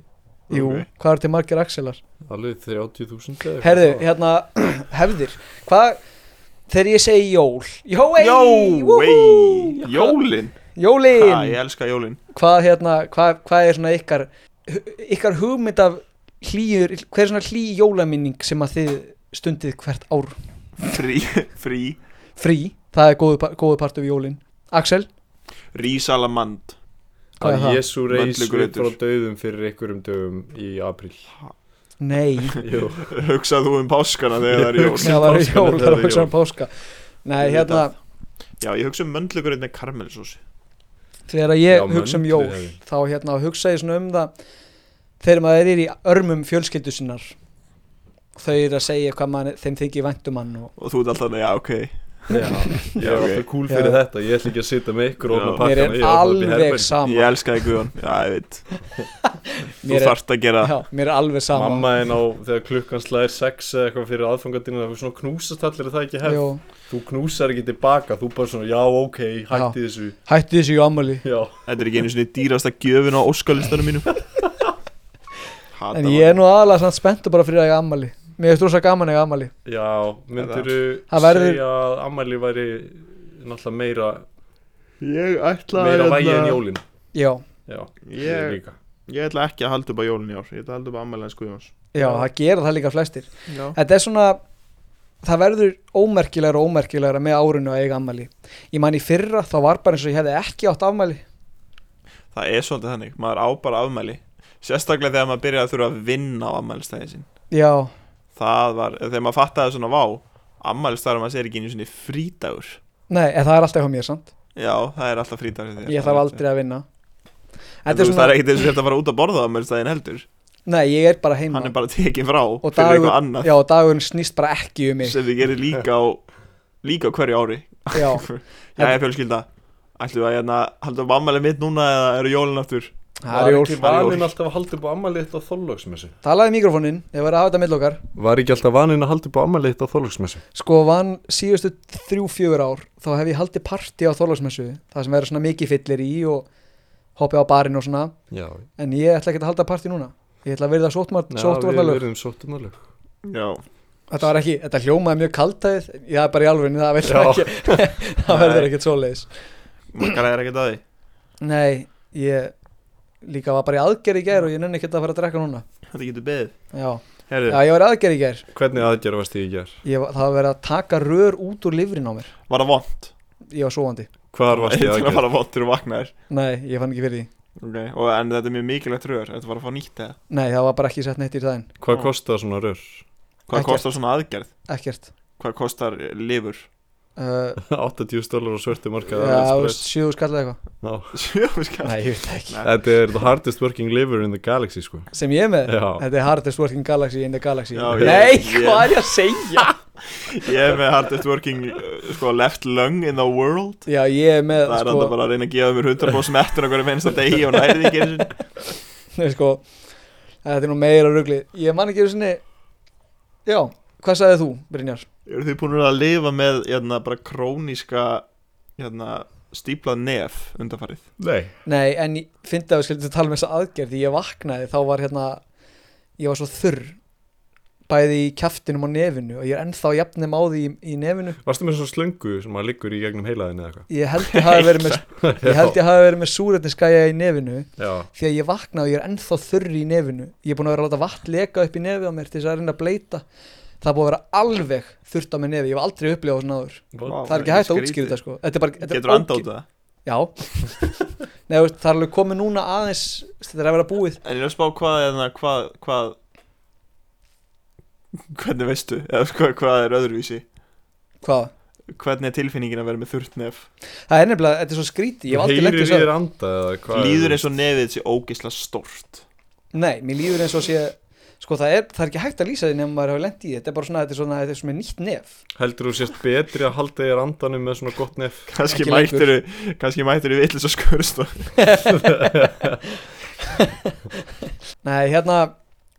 S3: Jú,
S2: Ok.
S3: hvað er til margir axelar?
S4: alveg 30.000 eða eitthvað.
S3: Herðu, hérna, hefðir Hvað, þegar ég segi jól Jói,
S2: Jói, jólin
S3: Jólin
S2: Já, ég elska jólin
S3: Hvað, hérna, hvað, hvað er svona ykkar hu- Ykkar hugmynd af hlýjur Hver er svona hlý jólaminning sem að þið stundið hvert ár
S2: Frí, frí,
S3: frí Það er góðu, góðu partur við jólin Axel,
S2: rísalamand
S3: hvað er
S4: að
S3: það?
S4: Jésu reis upp
S2: Möndlugreitur.
S4: frá döðum fyrir einhverjum dögum í apríl
S3: Nei,
S4: Jú,
S2: Hugsað þú um páskana þegar það er jól
S3: það var
S4: páskana
S3: jól,
S4: þegar
S3: það
S4: það
S3: var
S4: er
S3: hugsa um páska Nei,
S2: Ég veit
S3: hérna,
S2: Já, ég hugsa um möndlugurinn með karmelsósi
S3: þegar ég
S4: Já,
S3: hugsa um
S4: möndlu
S3: jól
S4: hefði.
S3: þá hérna hugsa ég svona um það þegar maður er í örmum fjölskyldu sinnar þau eru að segja hvað maður, þeim þykir vænt um hann og
S2: Og þú ert alltaf, já, ok
S4: já, ég er
S2: Ok.
S4: alltaf cool fyrir
S3: Já.
S4: þetta Ég ætla ekki að sitja með ykkur og
S2: Já.
S4: opna
S3: mér
S4: pakkan
S3: er alveg sama
S2: Ég elska þig Guðan, já, ég veit Þú
S3: Mér er-
S2: þarft að gera
S3: já, mér er alveg sama
S4: Mamma en á þegar klukkan slæðir sex eða eitthvað fyrir aðfangadina Það er svona knúsast allir er það ekki hefð
S3: Jó,
S4: Þú knúsar ekki tilbaka, þú bara svona já ok, hætti þessu
S3: hætti þessu í ammali
S4: Já,
S2: Þetta er ekki einu svona dýrasta gjöfin á óskalistanum mínu Hata
S3: en ég er nú aðalega samt spenntu bara fyrir að ég ammali mér er strósa gaman að ég ammali
S4: já, myndirðu
S3: Það verður-
S4: segja að ammæli væri náttúrulega meira,
S2: ég ætla að
S4: meira vægi
S2: hérna-
S4: en jólin
S3: já,
S4: Já,
S2: Ég-
S4: líka
S2: Ég ætla ekki að halda upp á jólin í ár Ég ætla að halda upp á sko, ammælæns Guðjóns
S3: já, það gera það líka flestir
S2: Já.
S3: þetta er svona það verður ómerkilegra og ómerkilegra með árinu að eiga ammali ég man í fyrra þá var bara eins og ég hefði ekki átt ammali
S2: Það er svolítið þannig, maður á bara afmæli Sérstaklega þegar maður byrjar að þurfa að vinna á afmælistæði sinn
S3: já,
S2: Það var, þegar maður fattaði svona vá Afmælistæður maður sér ekki einu svona frídagur
S3: Nei, en það er alltaf hjá mér samt
S2: Já, það er alltaf frídagur hjá þér,
S3: Ég
S2: það
S3: þarf
S2: er
S3: aldrei að vinna
S2: En
S3: Þetta
S2: þú
S3: er
S2: veist, það
S3: svona,
S2: er ekkert eins og þetta að fara út að borða á afmælistæðin heldur
S3: nei, ég er bara heima
S2: Hann er bara tekið frá
S3: Og
S2: fyrir
S3: dagur-
S2: eitthvað annað
S3: Já, og dagurinn snýst bara ekki um mig
S2: sem þið gerir líka á líka á hverju ári
S3: Já,
S2: Já, ég fjölskylda Ætlum við að hérna, halda upp afmæli mitt núna eða eru jólin aftur
S3: það er
S4: ekki
S3: jól
S4: vaninn alltaf að halda upp á ammæli þetta á þorlóksmessu?
S3: Talaði mikrofonin, ég var að hafa þetta mill okkar
S4: Var ekki alltaf vaninn að halda upp á ammæli þetta á þorlóksmessu?
S3: Sko vann síðustu þrjú, fjögur ár Þá hef ég haldið partí á Þorláksmessu Það sem verður svona mikið fyllir í og hoppið á barinn og svona
S4: Já,
S3: En ég ætla ekki að halda partí núna Ég ætla að verða
S4: Já,
S3: sóttvarnalög
S4: við erum sóttunarlög
S3: Mm.
S2: Já,
S3: Þetta var ekki, þetta hljómaði mjög kaltæð Já, bara í alveg, það verður
S4: Já.
S3: ekki Það verður ekkert svoleiðis
S2: makkar er ekkert að því
S3: Nei, ég líka var bara í aðgerð í gær og ég nenni ekki að fara að drekka núna
S2: Þetta getur beðið
S3: Já,
S2: Herðu,
S3: já ég var í aðgerð í gær
S4: Hvernig aðgerð varst þið í gær?
S3: ég, var- Það var verið að taka rör út úr lifrin á mér
S2: var það vond?
S3: Ég var sovandi
S4: Hvar varst þið í
S2: Þetta
S4: aðgerð?
S2: var vond til að vakna þér
S3: Nei, ég fann ekki fyrir því
S2: okay. og, En þetta er mjög mikilvægt rör, þetta var að fá nýtt eða
S3: Nei, það var bara ekki sett neitt í þaðin
S4: Hvað kostar svona rör?
S2: Hvað
S3: Ekkert.
S2: kostar svona aðgerð?
S3: Ekkert
S2: Hvað kostar eh, lifur?
S3: uh,
S4: 80 stólar og svörtu markað
S3: Já, sjöðu skallið eitthvað
S4: Já.
S2: Sjöfuskall
S3: Nei, ég veit það ekki
S2: Nei.
S4: Þetta er the hardest working liver in the galaxy sko
S3: Sem ég er með
S4: Já.
S3: Þetta er Hardest Working Galaxy in the Galaxy
S2: Já, ég-
S3: Nei,
S2: ég-
S3: hvað er ég að segja?
S2: Ég er með hardest working eh, sko, left lung in the world
S3: Já, ég er með
S2: Það er
S3: sko,
S2: alltaf bara að reyna að gefa mér 100% mettur á hverju mennst að degi og nærið ekki einu sinni.
S3: Nei, sko Þetta er nú meira rugli Ég man ekki einu sinni Já, hvað sagðið þú, Brynjar?
S2: Eru þið búin að lifa með hérna, bara króníska hérna, stíplað nef undanfarið?
S4: Nei
S3: Nei, en ég fyndi að við skildum tala um þessa aðgerð því ég vaknaði, þá var hérna ég var svo þurr bæði í kjaftinum og nefinu og ég er ennþá jafnum á því í, í nefinu
S7: Varstu með svona slöngu sem maður liggur í gegnum heilaðin eða eitthvað?
S3: ég held ég hafi verið með, ég held ég hafi verið með súrætniskæja í nefinu
S7: Já,
S3: því að ég vakna og ég er ennþá þurri í nefinu ég er búin að vera að láta vatn leka upp í nefið á mér til þess að reyna að bleita það er búin að vera alveg þurrt á mér nefið ég hef aldrei upplegað svona áður
S7: Vá.
S3: það er ekki hægt að útskýra þetta sko þetta er bara, þetta er
S2: Getur anda
S3: óge-
S2: út það
S3: Já Nei, þú veist, það er alveg komið núna aðeins Þetta er að vera búið
S2: En ég er að spá hvað, hérna, hvað, hvað Hvernig veistu eða hvað, hvað er öðruvísi
S3: Hvað?
S2: Hvernig er tilfinningin að vera með þurrt nef
S3: Það er nefnilega, þetta er svo skrítið Ég hef aldrei lengt
S7: Heyrir
S3: þessu
S7: í þér
S3: að
S7: anda eða hvað?
S2: Líður eins og nefið sé ógeisla stórt
S3: Nei, mér líður eins og sé Sko, það er, það er ekki hægt að lýsa því nefnum maður hefur lent í því. Þetta er bara svona, þetta er svona, þetta er svona nýtt nef
S7: Heldur þú sérst betri að halda þér andanum með svona gott nef?
S2: Kanski
S3: Ekki lengur.
S2: mættir Kanski mættir við illis og skurst og
S3: Nei, hérna,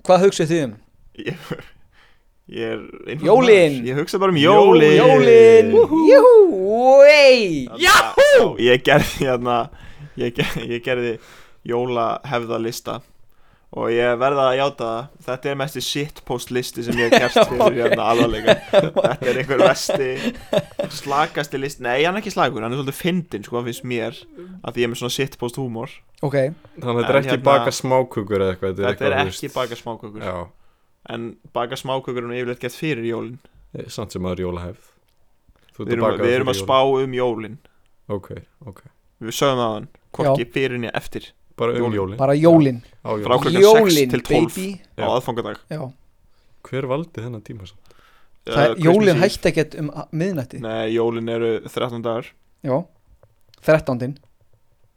S3: hvað hugsið þið um?
S2: Ég, ég er einfaldur
S3: Jólin.
S2: maður. Ég hugsa bara um jólin Eh,
S3: Jólin Júhú, wey
S2: Jáhú Ég gerði hérna Ég, ger- ég gerði jólahefðalista Og ég verða að játa það Þetta er mesti shitpost listi sem ég hef gert fyrir hérna alvarleika Þetta er einhver vesti Slakasti list Nei, hann er ekki slakur, hann er svolítið fyndin sko, hann finnst mér Að því ég er með svona shitpost húmor
S3: Ok,
S7: Þannig að þetta er
S2: En
S7: ekki
S2: hérna-
S7: baka smákökur eða eitthvað
S2: Þetta er
S7: eitthvað, þú
S2: ekki
S7: veist-
S2: baka smákökur
S7: Já,
S2: En baka smákökur er nú yfirleitt gett fyrir jólin
S7: eh, samt sem að jólahefð Þú ert
S2: Við erum,
S7: baka
S2: við
S7: það
S2: erum að
S7: fyrir
S2: spá um jólin
S7: jólin. Ok, ok
S2: Við sögum að hann, hvorki fyrir nýja eftir
S7: Bara um
S2: Jólin.
S7: jólin
S3: bara jólin
S7: Á jólin.
S2: Frá klukkan 6
S3: Jólin,
S2: til 12
S3: baby
S2: á
S7: Já.
S2: aðfangadag
S3: Já,
S7: Hver valdi þennan tíma samt?
S2: Eh,
S3: það er,
S2: Christmas
S3: jólin
S2: Eve.
S3: hætti ekkert um a- miðnætti
S2: Nei, jólin eru 13 dagar
S3: Já, 13.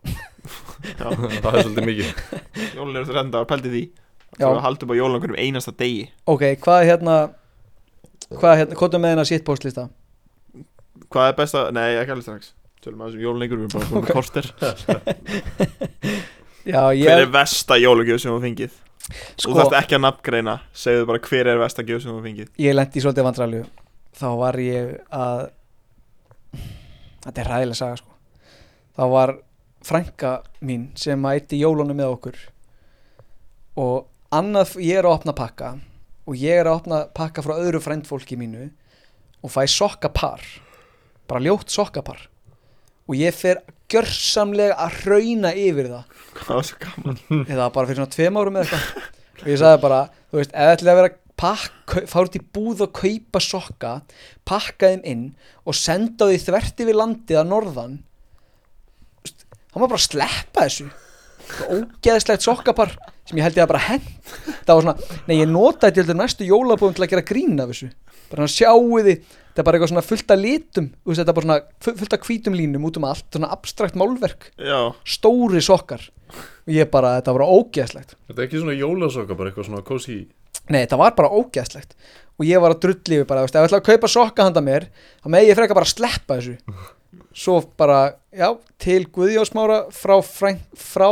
S7: það er svolítið mikið
S2: Jólin eru 13 dagar, pældi því
S3: Já.
S2: Þú að halda upp á jólin hverjum einasta degi
S3: Ok, hvað er hérna Hvað er hérna, hvað er með hérna sitt postlista?
S2: Hvað er besta, nei, ekki alveg strax Tölum að þessum jólinleikur, við erum bara komin okay. korter
S3: Já, ég
S2: Hver er versta jólagjöf sem þú fengið? Þú
S3: sko,
S2: þarft ekki að nafngreina, segðu bara hver er versta gjöf sem þú fengið
S3: ég lendi í svolítið vandralju þá var ég að þetta er ræðilega saga sko þá var frænka mín sem að eitti jólunum með okkur og annað, ég er að opna pakka og ég er að opna pakka frá öðru frændfólki mínu og fæ sokkapar bara ljótt sokkapar og ég fer gjörsamlega að hrauna yfir það
S2: Hvað var svo gaman?
S3: eða bara fyrir svona tveim árum eða eitthvað og ég sagði bara, þú veist, ef það ætlaði að vera pakk, fara út í búð og kaupa sokka pakka þeim inn og senda því þvert yfir landið að norðan þú veist, hann var bara að sleppa þessu Það var ógeðslegt sokkapar sem ég held ég að bara hend það var svona, nei ég notaði þetta, ég heldur næstu jólabúðum til að gera grín af þessu bara hann sjáu því, þetta er bara eitthvað svona fullt af litum, þú veist, þetta er bara svona fu- fullt af hvítum línum út um allt, svona abstrakt málverk
S2: Já,
S3: stóri sokkar og ég bara, þetta var bara ógeðslegt
S7: Þetta er ekki svona jólasoka, bara eitthvað svona kósi
S3: nei, þetta var bara ógeðslegt og ég var að drulli yfir bara, þú veist, ef ég ætla að kaupa sokka handa mér þá megi ég freka bara að sleppa þessu svo bara, já, til Guðjóðsmára frá, frænk, frá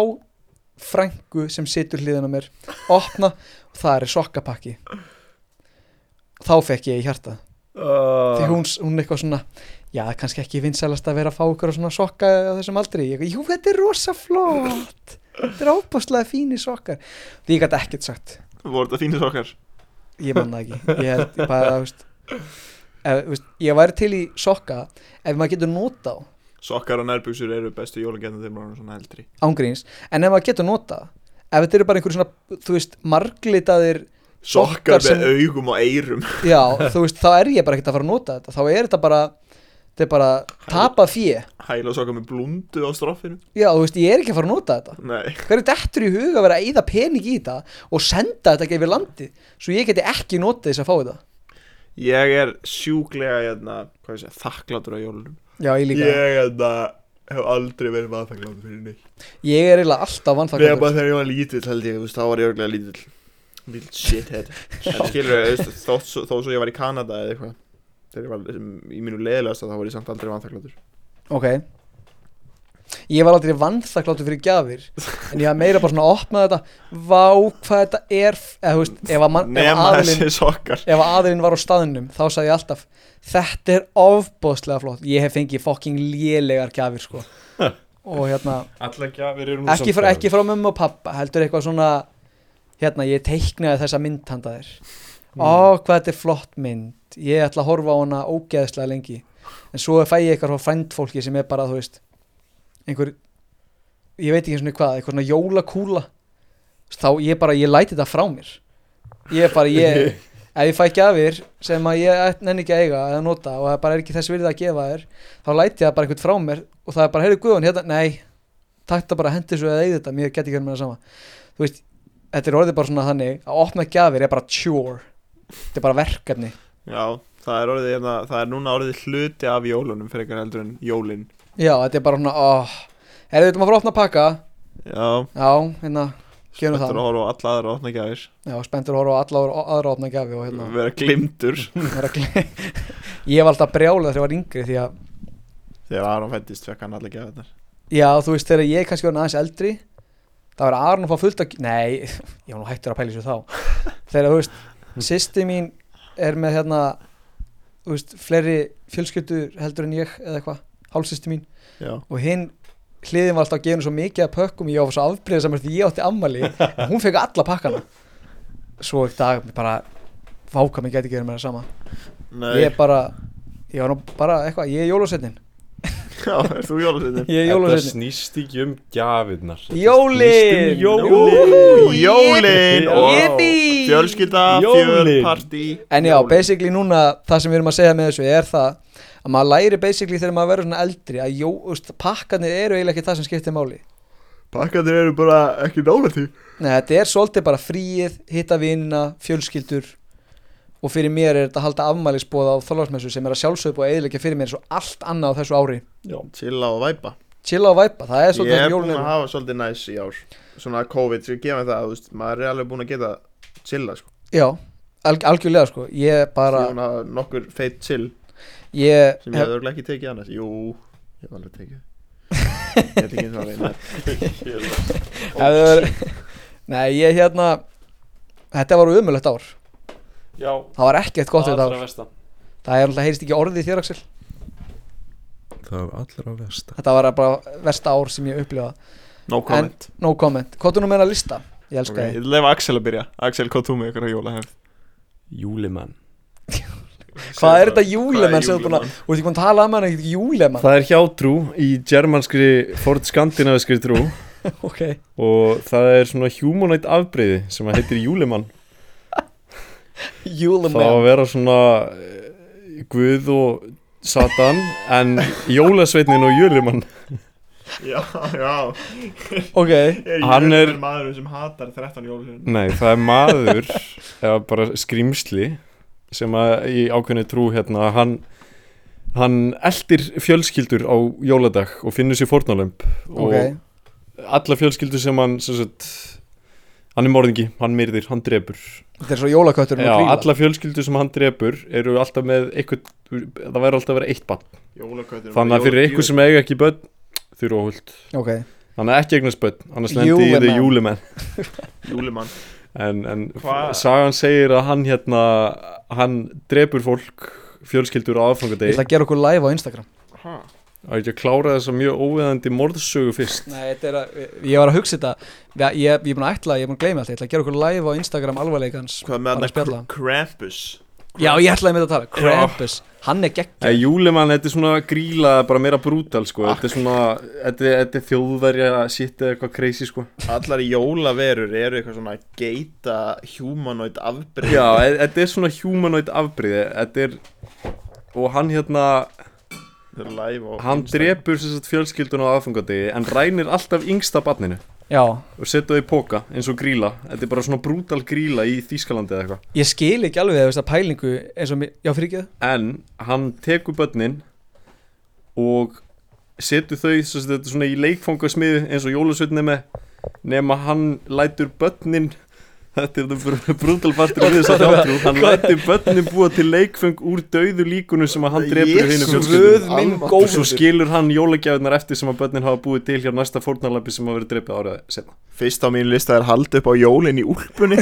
S3: frængu sem situr hliðin á mér opna og það er sokkapakki þá fekk ég í hjarta því
S7: uh,
S3: hún, hún eitthvað svona já, kannski ekki vinsælast að vera að fá ykkur á svona sokka á þessum aldri, ég, jú, þetta er rosa flott þetta er ábúslega fínir sokkar því ég gæti ekkert sagt
S2: voru þetta fínir okkar
S3: ég man það ekki ég, held, ég bara, þú veist, ef, þú veist, ég væri til í sokka ef maður getur nota á
S2: Sokkar og nærbuxur eru bestu jólagjöfnum þegar maður er svona eldri
S3: ángríns, en ef maður getur nota ef þetta eru bara einhver svona, þú veist, marglitaðir
S2: Sokkar
S3: sem-
S2: með augum og eyrum
S3: já, þú veist, þá er ég bara ekkert að fara að nota þetta þá er þetta bara, þetta er bara tapað fjö,
S2: Hæla sokkar með blundu á stroffinu
S3: já, þú veist, ég er ekki að fara að nota þetta
S2: Nei,
S3: hverju dettur í huga að vera að eyða pening í þetta og senda þetta ekki yfir landi svo ég geti ekki notið þess að fá þetta
S2: ég er sjúklega hérna, hvað ég segja, þakklátur á jólunum
S3: já, ég líka,
S2: Ég hérna, hef aldrei verið vaðþakklátur fyrir neitt
S3: ég er eiginlega alltaf
S2: Nei, bara
S3: vannþakkaður
S2: þegar ég var lítill held ég, þú veist, þá var ég örglega lítill Lítill shithead En skilur þau, þó, þó, þó svo ég var í Kanada eða eitthvað Þegar ég var í mínu leðilegast þá var ég samt aldrei vaðþakklátur
S3: ok ég var aldrei vannþakkláttur fyrir gjafir en ég var meira bara svona að opna þetta vá hvað þetta er f- eða þú veist, ef að, man, ef
S2: Nema
S3: að aðilinn
S2: þessi sokkar
S3: ef að aðilinn var á staðnum þá sagði ég alltaf þetta er ofbóðslega flott ég hef fengið fokking lélegar gjafir sko og hérna
S7: Alla gjafir eru nú
S3: ekki frá, ekki frá mömmu og pappa heldur eitthvað svona hérna ég teiknaði þessa mynd handa þér ó hvað þetta er flott mynd ég ætla að horfa á hana ógeðslega lengi en svo fæ ég eitthvað frá frændfólki sem er bara þú veist einhver, ég veit ekki einu sinni hvað eitthvað svona jólakúla þá ég bara, ég læti þetta frá mér ég er bara, ég ef ég fæ gjafir sem að ég æt- nenni ekki að eiga eða nota og það bara er ekki þess virði að gefa þér þá læti ég það bara eitthvað frá mér og það er bara, heyrðu guðan, hérna, nei takk þetta bara hendi svo eða eigið þetta, mér geti ekki verið með það sama þú veist, þetta er orðið bara svona þannig að opna gjafir er bara chore þetta er bara verkefni
S2: Já, það er, orðið, hérna, það er núna orðið hluti af jólunum fyrir einhvern heldur en jólin
S3: já, þetta er bara svona, oh, heyrðu, við ætlum að fara að opna pakka
S2: Já,
S3: já, hérna, Gerum það.
S2: spenntur að horfa á alla aðra opnagjafir
S3: já, spenntur að horfa á alla or- aðra opna gjafi og hérna
S2: Vera glimtur
S3: vera gle- ég var alltaf brjálega þegar ég var yngri því að
S2: Þegar Aron fættist fekk hann allir gjafirnar
S3: Já, þú veist, þegar ég er kannski var aðeins eldri Það var Aron að fá fullt að Nei, ég var nú hættur að pæla þessu þá Þegar, þú veist, sýsti mín er með hérna Þú veist, fleiri fjölskyldur heldur en ég Eða eitthvað, hálfsýsti mín
S2: Já,
S3: Og hinn hliðin var alltaf að gefa henni svo mikið að pökkum Ég var svo afbreyða saman því ég átti ammali En hún fekk alla pakkana Svo eitt dag, mér bara Váka mig gæti ekki verið með það sama
S2: nei,
S3: Ég bara, ég var nú bara eitthvað Ég er jólasetnin,
S2: já, er þú jólusinni?
S3: ég er
S4: Þetta
S3: jólasetnin
S4: snýst ekki um gjafirnar Þetta
S3: Jólin!
S4: snýst um Jólin
S2: Jólin!
S4: Jólin!
S2: Ó, Fjölskylda,
S4: Jólin!
S2: fjölpartí
S3: En já, basically núna það sem við erum að segja með þessu er það að maður læri basically þegar maður verður svona eldri að jó, úst, pakkarnir eru eiginlega ekki það sem skiptir máli
S2: Pakkandir eru bara ekki nála því
S3: Nei, þetta er svolítið bara fríið, hitta vinina, fjölskyldur og fyrir mér er þetta að halda afmælisbóða á þorlagsmessu sem er að sjálfsögðu og eiginlega fyrir mér eins og allt annað á þessu ári
S8: Chilla og væpa
S3: Chilla og væpa, það er
S8: Ég
S3: svolítið
S8: er
S3: sem
S8: búin
S3: jólun
S8: að
S3: eru
S8: hafa svolítið næs í ár Svona COVID, sem gefa mér það, þú veist Maður er alveg búin að geta chilla, sko
S3: Já, alg algjörlega sko Ég bara,
S8: Ég hafa nokkur feitt chill
S3: ég
S8: Sem ég hefði örugglega ekki tekið annars Jú, ég hef alveg tekið Ég hef ekki eins og að reyna
S3: hefur Nei, ég hérna Þetta var umulegt ár
S7: Já,
S3: Það var ekkert gott þetta ár
S7: versta
S3: Það er alltaf heyrist ekki orðið í þér Axel
S4: Það er allra versta
S3: Þetta var bara versta ár sem ég upplifa
S2: No comment
S3: No comment Hvað er nú meina lista? Ég elska
S2: okay. Ég lefa Axel að byrja Axel, hvað þú með ykkur á jólahefð?
S4: Júlimann
S3: þig Hvað er þetta júlemann sem þú búin að Þú ert ekki búin að tala um hann ekkert júlemann
S4: Það er hjátrú í germanskri Ford Skandinaviskri trú
S3: Ok
S4: og það er svona humanoid afbreyði sem að heitir Júlimann Það á
S3: Júlemann
S4: að vera svona eh, Guð og Satan en Jólasveitnin og Júlimann
S2: Já, já
S3: Ok
S2: er
S4: Hann er-
S2: Jörgen maðurinn sem hatar 13 jólusinni
S4: Nei, það er maður eða bara skrýmsli sem að í ákveðni trú hérna hann, hann eldir fjölskyldur á jóladag og finnur sér fórnálömb
S3: Ok
S4: og alla fjölskyldur sem hann sem sagt, hann er morðingi, hann myrðir, hann drepur
S3: Þetta er svo jólakötturinn
S4: Já,
S3: og gríla
S4: alla fjölskyldur sem hann drepur eru alltaf með eitthvað, það væri alltaf að vera eitt bann
S2: Jólaköttur
S4: þannig að fyrir eitthvað sem eiga ekki börn þurfa hult,
S3: Ok
S4: þannig að ekki eignast börn annars lendi ég í því
S3: Júlemenn.
S4: júlimenn
S2: Júlimann
S4: en, en
S2: Hva-
S4: sagan segir að hann hérna hann drepur fólk fjölskyldur á
S3: Ég
S4: aðfangadegi
S3: ætla að gera okkur live á Instagram
S4: að ég ekki að klára þessa mjög óveðandi morðsögu fyrst
S3: Nei, þetta er að Ég var að hugsa þetta Ég, ég, ég er búin að ætla Ég er búin að gleyma þetta Ég ætla að gera okkur live á Instagram alvarleikans
S2: Hvað með
S3: Bara að spjalla.
S2: hann Krampus
S3: Já, ég ætlaði með þetta að tala Krampus Hann er gegn
S4: en Júlimann, þetta er svona gríla bara meira brútal sko, þetta er svona þetta, er- þetta er þjóðverja sitt eða eitthvað crazy sko
S8: Allar jólaverur eru eitthvað svona geita humanoid afbreyð
S4: já, e- þetta er svona humanoid afbrýði þetta er og hann hérna,
S8: Þau eru live og
S4: hann drepur sem sagt, fjölskyldun á aðfangadegi en rænir alltaf yngsta barninu
S3: Já
S4: og setja þau í póka eins og gríla þetta er bara svona brútal gríla í Þýskalandi eða eitthvað
S3: Ég skil ekki alveg þess að pælingu eins og mér Já, fyrir ekki
S4: en hann tekur börnin og setur þau svo sem þetta er svona í leikfangasmiðu eins og jólasveitni með nema hann lætur börnin þetta er það brútal partur við þess að þáttrú hann lætur börnin búa til leikfang úr dauðu líkunum sem að hann drefur hinn fjölskyldum
S3: Guð minn
S4: og svo
S3: góður
S4: skilur hann jólagjafirnar eftir sem að börnin hafa búið til hjá næsta fórnarlampi sem að vera drefið árið setna
S2: Fyrst á mínu lista er hald upp á jólin í úlpunni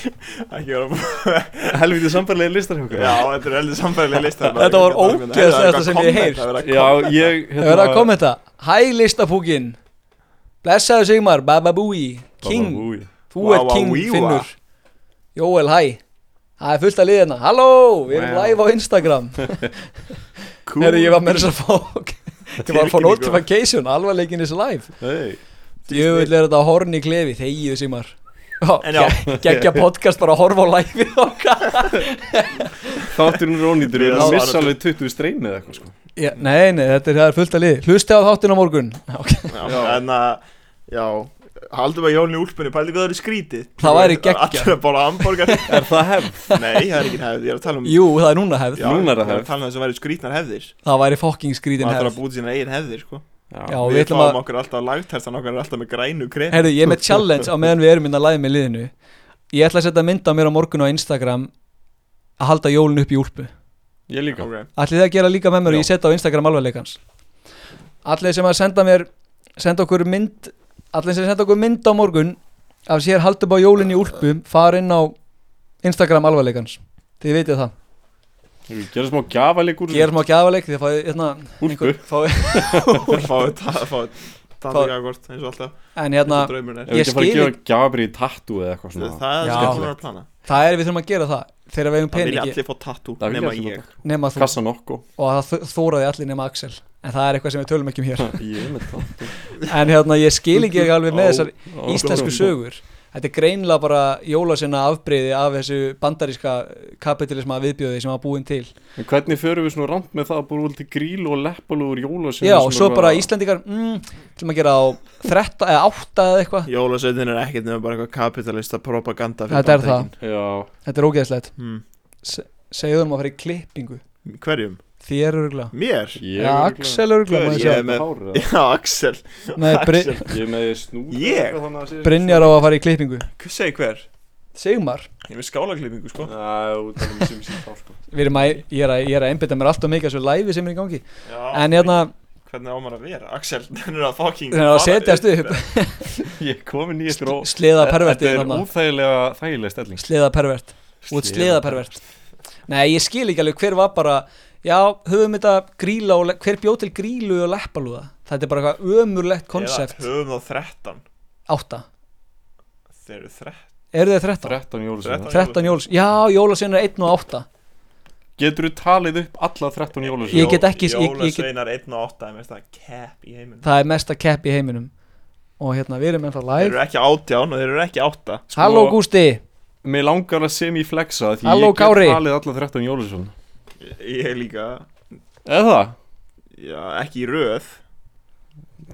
S2: Ekki vera búin
S4: helviti sambarlega listar hjá okkur
S2: Já, þetta er heldur samfæðilega lista
S3: Þetta var ógeðslegasta sem ég heyrt.
S2: Það er eitthvað comment að vera að
S4: hérna- Já, ég
S3: Það verða að koma þetta Hæ listapúkin Blessaðu Sigmar, Baba Booey King,
S4: Bababúi.
S3: þú
S2: Wawa
S3: ert King
S2: Wiwa.
S3: Finnur Jóel, hæ Það er fullt að liða hérna, halló, við erum
S4: Wow.
S3: live á Instagram
S2: Cool.
S3: Herru, ég var með þess að fá Ég var að fá
S2: Tilkynningu.
S3: notification, alvar leikin is live
S4: Hey.
S3: Jöfull er þetta horn í klefi, þegiðu Sigmar
S2: En já.
S3: Gekkja podcast bara að horfa á live okkar
S4: Þátturinn er ónýtur, við erum
S2: Já.
S4: að missa alveg 20 streymi eða eitthvað sko
S3: Já, Nei, nei, þetta er, það er fullt að liði Hlusti á þáttin á morgun Ok.
S2: Já, en að, já Haldum að Jón í úlpunni, pældi hvað það eru skrítið
S3: Það væri geggjað.
S2: Allir að bóla hambúrgar
S4: Er það hefð?
S2: Nei, það er ekki hefð, ég er að tala um
S3: Jú, það er núna hefð
S2: já,
S4: Núna er það
S2: ég
S4: hefð.
S2: að tala um þess að væri skrítnar hefðir
S3: Það væri fucking skrítin
S2: Maður þarf
S3: hefð
S2: að búið sína eigin hefðir, sko
S3: Já,
S2: Við,
S3: við ætlum
S2: fáum
S3: að
S2: okkur alltaf lagtertan okkar er alltaf með grænu krem
S3: Herru, ég er með challenge á meðan við erum inn að læði með liðinu Ég ætla að setja mynda mér á morgun á Instagram að halda jólun upp í úlpu
S4: Ég líka
S2: okay.
S3: Ætli þið að gera líka með mér og
S4: Já.
S3: ég setja á Instagram alveg leikans Allir sem að senda mér senda okkur mynd Allir sem senda okkur mynd á morgun af sér halda upp á jólun í úlpu fara inn á Instagram alveg leikans Þið vitið það
S4: Gerðu smá gjafaleik úr þessu.
S3: Gerum á gjafaleik þið fáið hérna,
S4: Úlpu.
S3: fáið,
S2: Fáðu það, fáðu það
S3: Fá-
S2: er akkord, eins og alltaf
S3: En
S2: eins
S3: hérna,
S2: og draumurinn
S4: Ef við
S3: Ég
S4: ekki að fara að
S3: skil-
S4: gefa gjafri í tattu eða eitthvað
S2: er
S4: svona
S2: Það er
S3: Já.
S2: skemmtilega að plana
S3: það er við þurfum að gera það Þegar við hefum
S2: Það vilja
S3: peningi
S2: allir fá tattoo,
S4: Það vilja
S2: nema
S4: allir fá
S2: ég
S3: nema þú
S4: Kassa nokko
S3: og það þ- þóraði allir nema Axel en það er eitthvað sem við tölum ekki um hér
S4: Ég er með tattu
S3: en hérna ég skil ekki alveg með þessar
S4: Ó,
S3: íslensku
S4: ó,
S3: sögur þetta er greinlega bara jólasinna afbreyði af þessu bandaríska kapitalisma viðbjóði sem var búin til
S4: En hvernig förum við svona rámt með það að búið til gríl og leppalúður jólasinn
S3: já og svo bara Íslendingar mm, til maður að gera á 13 eða 8 eða eitthvað
S2: Jólasveitin er ekkert nema bara eitthvað kapitalista propaganda fyrir
S3: Þetta er það.
S2: Bandaríkin.
S4: Já,
S3: þetta er ógeðslegt
S2: Hmm.
S3: segðu þeim að fara í klippingu
S2: Hverjum?
S3: þér örgulega
S2: Mér?
S4: ég
S3: ja, Axel örgulega
S2: Ég er
S4: Ég
S2: með-
S4: með hár, eða?
S2: Já, Axel
S3: Nei, Bri
S2: Axel.
S4: Ég er með snúr
S2: Ég?
S3: Brynjar á að fara í klippingu
S2: Segð hver?
S3: Sigmar
S2: Ég er með skálaklippingu, sko
S4: um Brynjar
S3: við erum að, ég er að, ég er að einbytta mér alltaf mikið að þessu læfi sem er í gangi
S2: Já,
S3: en hérna
S2: Hvernig á maður að vera? Axel, hann er að fucking
S3: Hann er að setjast upp.
S4: Ég komi nýja eftir og
S3: Sleða perverti
S4: Þetta er
S3: þarna.
S4: óþægilega þægilega stelling
S3: Sleða pervert Út sleða pervert Nei, ég skil ekki alveg hver var bara Já, höfum þetta gríla og le- Hver bjó til grílu og leppalúða Þetta er bara eitthvað ömurlegt konsept
S2: Eða höfum þá 13
S3: Átta
S2: Þeir eru 13
S3: Eru þið 13?
S4: 13 jólasinn
S3: 13 jóls Já, jólasveinar er 1 og 8
S4: Getur þú talið upp alla 13 jólasinn
S3: Ég get ekki- ég- ég get-
S2: Jólasveinar 1 og 8 er mest að cap í heiminum
S3: Það er mesta kepp í heiminum Og hérna, við erum ennþá
S2: Þeir
S3: live
S2: eru ekki 18 og þeir eru ekki 8
S3: Halló Gústi
S4: Mér langar að sem ég flexa Því
S3: Halló,
S4: ég get
S3: Kári.
S4: talið alla 13 jólasinn
S2: Ég líka
S4: Eða það?
S2: Já, ekki í röð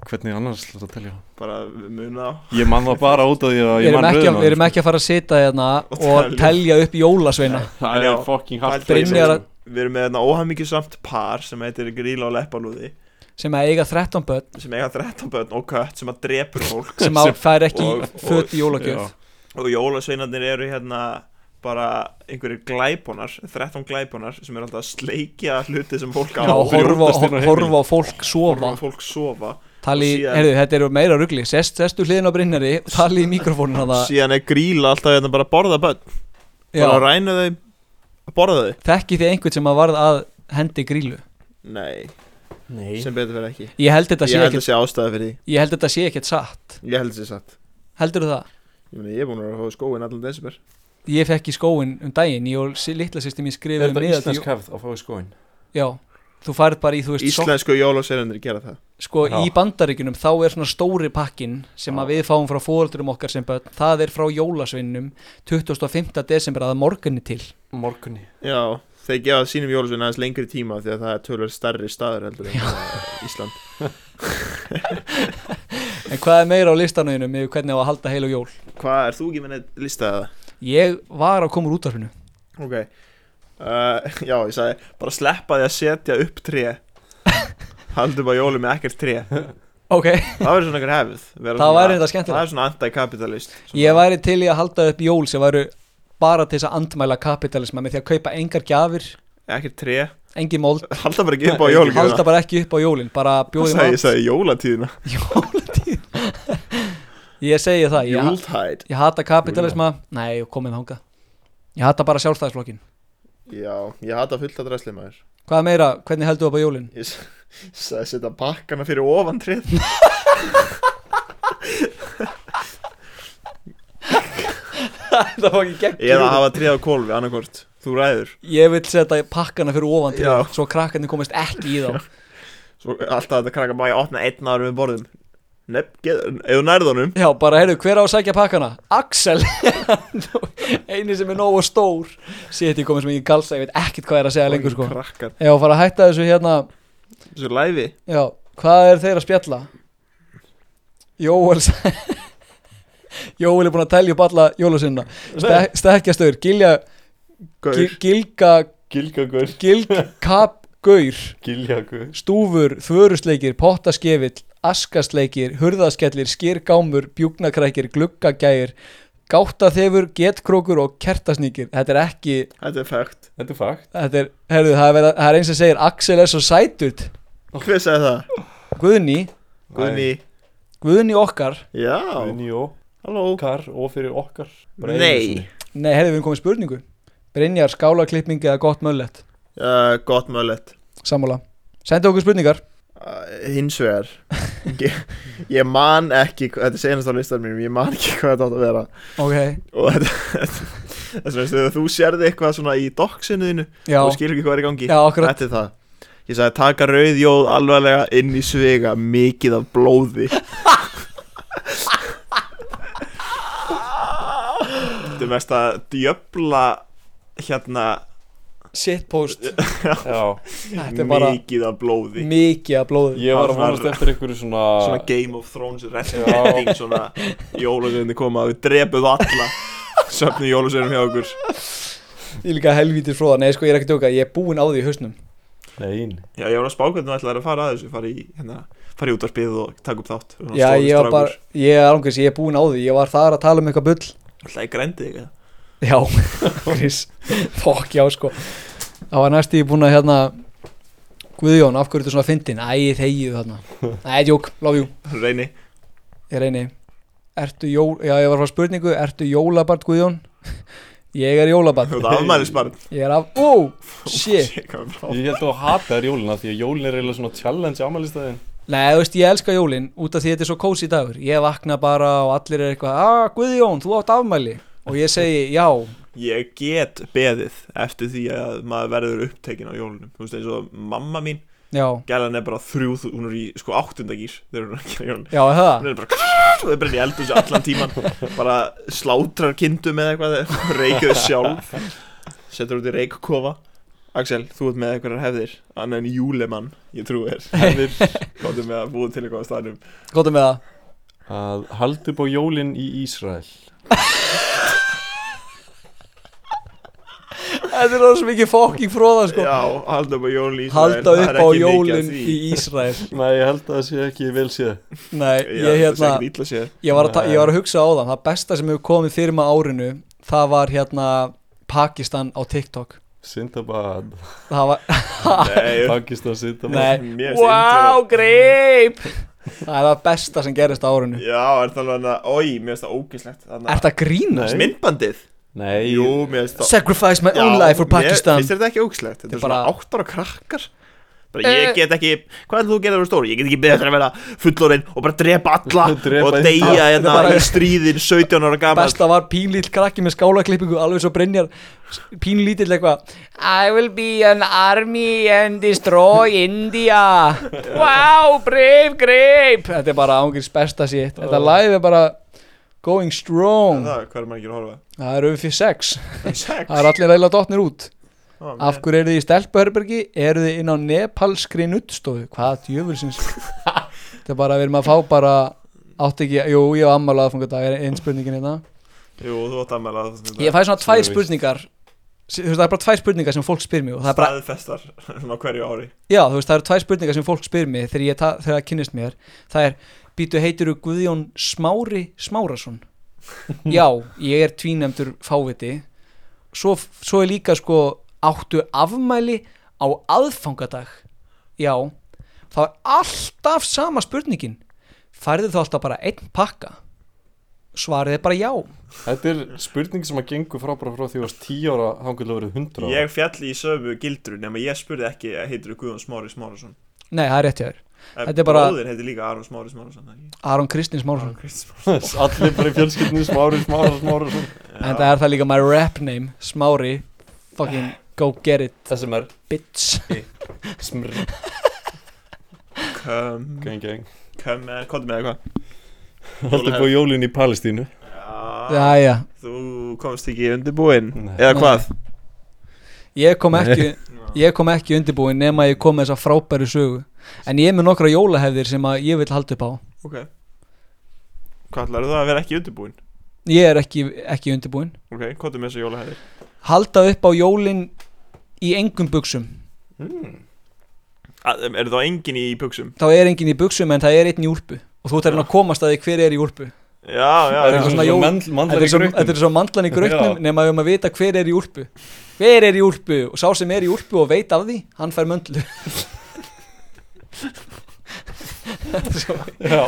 S4: Hvernig annars ætlar það að telja?
S2: Bara muna á
S4: Ég man það bara út af því að
S3: Við
S4: ég
S3: erum
S4: man
S3: ekki,
S4: röðina sko.
S3: við erum ekki að fara að sitja hérna
S2: Og
S3: Og
S2: telja.
S3: telja upp jólasveina
S4: Það
S2: Já.
S4: er fucking hart
S2: Pældu í þessu.
S3: Brynjar að-
S2: Við erum með þarna óhafmyggjusamt par sem heitir Gríla og Leppalúði
S3: Sem að eiga 13 börn
S2: sem eiga 13 börn og kött sem að drepur fólk
S3: Sem að fær ekki
S2: og-
S3: föt í jólagjöf
S4: Já.
S2: og jólasveinarnir eru hérna bara einhverjir glæbónar 13 glæbónar sem eru alltaf að sleikja hluti sem fólk á
S3: Já,
S2: og
S3: horfa,
S4: brjótast inn á heimili.
S3: horfa á fólk sofa
S2: horfa á fólk sofa
S3: Tali,
S2: Og síðan-
S3: heyrðu, þetta eru meira rugli Sest, Sestu hliðin á brinnari og tali í mikrofónin hana
S2: síðan er gríla alltaf hérna bara að borða börn bara að
S3: hérna- Já,
S2: ræna þau að borða þau
S3: þekki þið einhvern sem að varð að hendi grílu
S2: nei, sem betur fyrir ekki
S3: Ég held þetta
S2: ég
S3: sé
S2: held
S3: ekkert
S2: að sé ástæða fyrir
S3: Ég held þetta sé ekkert satt
S2: því ég held að sé satt
S3: Heldurðu það?
S2: ég, meni, ég er búin að hafa skóin allan desember
S3: Ég fekk í skóin um daginn Ég og sí- litla sýstir mín
S4: Er
S3: skrifum
S4: þetta íslensk hefð að fá í skóin?
S3: Já, þú færð bara í, þú veist Ísland...
S2: íslensku jólasveinarnir gera það
S3: Sko,
S4: Já.
S3: í bandaríkunum þá er svona stóri pakkin sem að við fáum frá fóaldurum okkar sem börn Það er frá jólasveinnum 25. desember að morgunni til
S4: Morgunni
S2: já þeir gefa sínum jólasvein aðeins lengri tíma því að það er tölver starri staður heldur en eh, Ísland
S3: En hvað er meira á listanauðinum yfir hvernig á að halda heil og jól?
S2: hvað er þú ekki með neitt listaða
S3: Ég var að koma úr útvarfinu
S2: Ok uh, Já, ég sagði bara sleppa því að setja upp tré Haldum að jólu með ekkert tré
S3: Ok
S2: Það verður svona einhver hefð vera
S3: Það
S2: svona-
S3: væri þetta skemmtilegt.
S2: Það er svona anti-kapitalist svona-
S3: Ég væri til í að halda upp jól sem væru bara til þess að andmæla kapitalisma með því að kaupa engar gjafir,
S2: Ekkert tré
S3: engin mold
S2: Halda bara ekki upp á jólu
S3: halda bara ekki upp á jólin, bara
S2: Ég
S3: bjóði
S2: sagði, ég sagði jólatíðina
S3: Jólatíð Ég segi það, ég,
S2: Júltæð
S3: ég hata kapitalisma Nei, komið með hanga Ég hata bara sjálfstæðisflokkin
S2: Já, ég hata fullt að dræsli maður
S3: Hvað meira, hvernig heldur þú upp á jólin?
S2: Ég s- sagði setja pakkana fyrir ofan tréð
S3: það var ekki gegn
S8: Eða hafa tríð á kólfi, annarkvort Þú ræður
S3: Ég vil setja pakkana fyrir ofan til
S8: Já.
S3: Svo krakkarnir komist ekki í þá
S8: Svo alltaf þetta krakka má ég opna einn ára með borðum Nepp, getur, ef þú nærð honum
S3: Já, bara heyrðu, hver á að sækja pakkana? Axel Einu sem er nógu stór Sétt ég komið sem ekki kalsa, ég veit ekkert hvað er að segja lengur sko
S8: Krakkar,
S3: Ég var að fara að hætta þessu hérna
S8: þessu læfi
S3: Já, hvað er þeir að spjalla? Jóel sa- Jóel er búin að telja upp alla jólasinna Stekkjastur, Gilja
S8: Gaur,
S3: Gil- Gilga
S4: Gilgagur
S3: Gilgapgaur
S4: Giljagur
S3: Stúfur, Þvörusleikir, Pottaskefill, Askasleikir, Hurðaskellir, Skýrgámur, Bjúknakrækir, Gluggagægir, Gáttaþefur, Getkrókur og Kertasníkir. Þetta er ekki,
S8: þetta er fægt
S4: Þetta er fakt
S3: þetta er, herðu, það er, verið að- það er eins sem segir Axel er svo sætut.
S8: Hver sagði það?
S3: Guðni,
S8: Guðni,
S3: Guðni okkar.
S8: já,
S4: Guðni og
S8: halló
S4: okkar og fyrir okkar Bara einu
S8: Nei,
S4: sinni.
S3: Nei, herðu, við erum komið með spurningu. Brynjar, skálaklipping eða gott möllett?
S8: uh, gott mögulegt
S3: Sammála. Sendu okkur spurningar.
S8: Uh, hins vegar ég, ég man ekki hva- þetta er senast á listan mínum, ég man ekki hvað þetta átt að vera
S3: Ok,
S8: og þetta þess vegna þegar þú sérði eitthvað svona í doxinuðinu
S3: já.
S8: og skilur ekki hvað er í gangi
S3: Já, akkurat.
S8: þetta er það ég sagði taka rauð jóð alvarlega inn í svega mikið af blóði
S2: Þetta er mest að djöfla hérna
S3: Shitpost.
S4: Já
S3: Þetta er bara
S2: mikið af blóði
S3: mikið að blóðu.
S4: Ég var að vonast eftir einhverju svona
S2: Svona Game of Thrones resmeting svona jólasveinu koma að við drepuð alla söfnu jólasveinum hjá okkur
S3: Ég líka helvítið fróða. Nei, sko, ég er ekki að djóka. Ég er búinn á því í hausnum.
S4: Nein
S2: Já, ég var að spá hvernig þú ætlaðir að fara að þessu fara í, hérna, fara í útvarpið og taka upp þátt Svona
S3: Já,
S2: stóri
S3: ég var
S2: strákur.
S3: bara, ég er ángriðs, ég er búinn á því Ég var þar að tala um eitthvað bull
S2: Ætlaði ég grendi þig eða?
S3: Já, Chris, fokk já sko Það var næst ég búinn að hérna Guðjón, af hverju þetta svona fyndin? Æ, þegið þarna Æ, djók, love you,
S2: Reyni
S3: ég reyni Ertu jól, já ég var frá spurningu Ertu jólabart Guðjón? Ég er jólabart
S2: Þú ert afmælisbarn
S3: Ég er af, ó, shit
S2: Ég kom frá.
S4: Ég held að þú hataðir jólina því að jólin er eiginlega svona challenge ámælistæðin
S3: Nei, þú veist, ég elska jólin út af því þetta er svo kósi dagur Ég vakna bara og allir er eitthvað Ah, Guðjón, þú átt afmæli Og ég segi, já,
S2: Ég get beðið eftir því að maður verður upptekinn á jólunum Þú veist eins og mamma mín
S3: já,
S2: Gælan er bara þrjú, hún er í sko áttundagýr Þegar hún er ekki á jólunum
S3: já, er það
S2: Hún er bara og þau brenni eldur sér allan tíman Bara slátrar kindum eða eitthvað Reykja þau sjálf Setur út í reykkofa Axel, þú ert með einhverjar hefðir Annan en júlemann, ég trú þér Hefðir, komdu með að búa til eitthvað á staðnum
S3: Góðum með það
S4: Að haldi upp á jólin í Ísrael
S3: Þetta er alveg mikið fokking fróða sko
S2: Já, halda upp á jólin í Ísrael,
S3: Halda
S2: það er
S3: upp á
S2: ekki mikið að
S3: jólin
S2: því.
S3: í Ísrael
S4: Nei, ég held að það sé ekki vel séð
S3: Nei,
S2: Já,
S3: ég, hérna,
S2: Það er ítla sér
S3: ég, var að ta- ég var að hugsa á það Það besta sem hefur komið fyrir maður árinu Það var hérna Pakistan á TikTok
S4: Sindabad
S3: Það var,
S2: Nei,
S4: Pakistan Sindabad
S3: nei,
S2: mér finnst
S5: Wow,
S2: internet-
S5: greip
S3: það er það besta sem gerist á árinu
S2: Já, er það alveg hann að, oi, mér finnst það ógislegt
S3: Er það grínast?
S4: Nei.
S2: Myndbandið?
S4: Nei,
S2: Jú, mér finnst það
S3: Sacrifice my own life for Pakistan
S2: Mér finnst þetta ekki ógislegt, þetta
S3: Þetta
S2: er svona
S3: bara-
S2: átt ára krakkar bara, Ég get ekki, hvað er þú að gera þegar þú stóri? Ég get ekki beðið eftir að vera fullorinn og bara drepa alla
S4: Drepa
S2: og
S4: alla.
S2: deyja hérna
S3: Ah, bara-
S2: í stríðin 17 ára gammal
S3: Besta var pínlítill krakki með skálaklippingu Alveg svo brennjar Pínlítill eitthvað
S5: I will be an army and destroy India Wow, brave, greip
S3: Þetta er bara ángriðs besta sitt Þetta live er bara going strong
S2: Hvað er maður ekki að horfa?
S3: Það eru fyrir sex
S2: Sex?
S3: Það eru allir eiginlega dotnir út
S2: Ó, mér-
S3: Af hverju eru þið í stelpuherbergi? Eru þið inn á nepalskri nuttstofu? Hvað djöfulsins? Þetta er bara, við erum að fá bara Átt ekki, jú, ég var ammálað að funga dag Er einn spurningin hérna
S2: Jú, þú átt ammæla
S3: Ég fæ svona tvær
S4: Svo er víst.
S3: spurningar Sí, Þú veist, það er bara tvær spurningar sem fólk spyr mig og það er bara,
S2: Staðfestar á hverju ári
S3: Já, þú veist, það eru tvær spurningar sem fólk spyr mig Þegar, ég ta- þegar það kynnist mér Það er, býtu heitir þú Guðjón Smári Smárason? Já, ég er tvínemdur fáviti Svo, svo er líka sko Áttu afmæli á aðfangadag Já, þá er alltaf sama spurningin Færðu þú alltaf bara einn pakka? Svarið er bara já
S4: þetta er spurning sem að gengur frá bara frá því að þú varst 10 ára þangur til að verið 100 ára
S2: Ég fjall í sömu gildru nema ég spurði ekki að heitir Guðjón Smári Smárasson
S3: Nei, það er rétt hjá þér Þetta er bara-
S2: Bróðir heitir líka Aron Smári Smárasson ekki?
S3: Aron Kristins Márusson
S2: Aron Kristins
S4: Allir bara í fjölskyldinu smári, smári, smári
S3: En það er það líka my rap name Smári Fucking go get it
S4: Þessum er
S3: bitch
S4: smr
S2: Come,
S4: Gang, gang
S2: come, eh, komdu með eitthvað
S4: Allir búið jólin í Palestínu
S2: Já,
S3: Jæja
S2: þú komst ekki undirbúinn
S4: Nei.
S2: Eða hvað?
S3: Ég kom ekki Ég kom ekki undirbúin nema ég kom með þessa frábæri sögu En ég er með nokkra jólahefðir sem að ég vil halda upp á
S2: Ok Hvað ætlarðu það að vera ekki undirbúinn?
S3: Ég er ekki, ekki undirbúin
S2: Ok, komdu með þessu jólahæðir
S3: Halda upp á jólin í engum buksum
S2: Er þá engin í buksum?
S3: Þá er enginn í buksum en það er einn í úlpu Og þú ert að reyna að komast að því hver er í úlpu
S2: Já, já,
S3: Það
S2: já.
S3: er eitthvað svona jól- Þetta
S4: Mandlar
S3: er
S4: í
S3: svo,
S4: gröktum
S3: þetta er svo mandlan í gröknum
S4: Já.
S3: nema við um að vita hver er í úlpu Hver er í úlpu og sá sem er í úlpu og veit af því hann fær möndlu Þetta er svo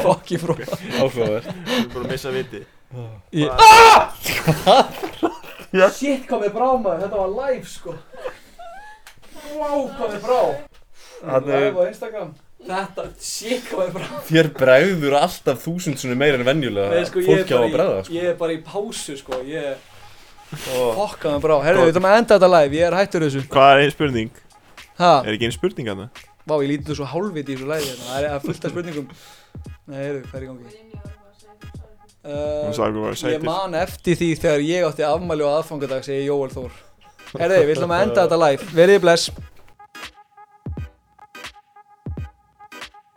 S3: fokki frá
S4: Áhugaverð
S2: Við erum búin að missa viti
S3: Ég-
S2: Bara-
S3: Shit hvað við brá maður, þetta var live sko Wow hvað við brá
S4: Þarna er-
S3: á Instagram Þetta, shit hvað við brá
S4: Þér bregður alltaf þúsund sunni meira en venjulega
S3: Nei, sko, ég er
S4: Fólk á
S3: bara
S4: að
S3: í-
S4: bregða sko.
S3: Ég er bara í pásu sko Ég Fokk hvað við brá, herru við þurfum að enda þetta live, ég er hættur þessu
S2: Hvað er einn spurning?
S3: Ha,
S2: Er ekki einn spurning að það?
S3: vá ég lítið svo hálfviti í þessu live hérna Það er- það er fullt af spurningum Nei, herru, hvað er í gangi?
S2: Hún
S3: Uh,
S2: sagði hvað var
S3: ég
S2: sætir
S3: man eftir því þegar ég átti afmæli og aðfangadag segi Jóel Þór Herðu, við ætlum að enda þetta live, verið bless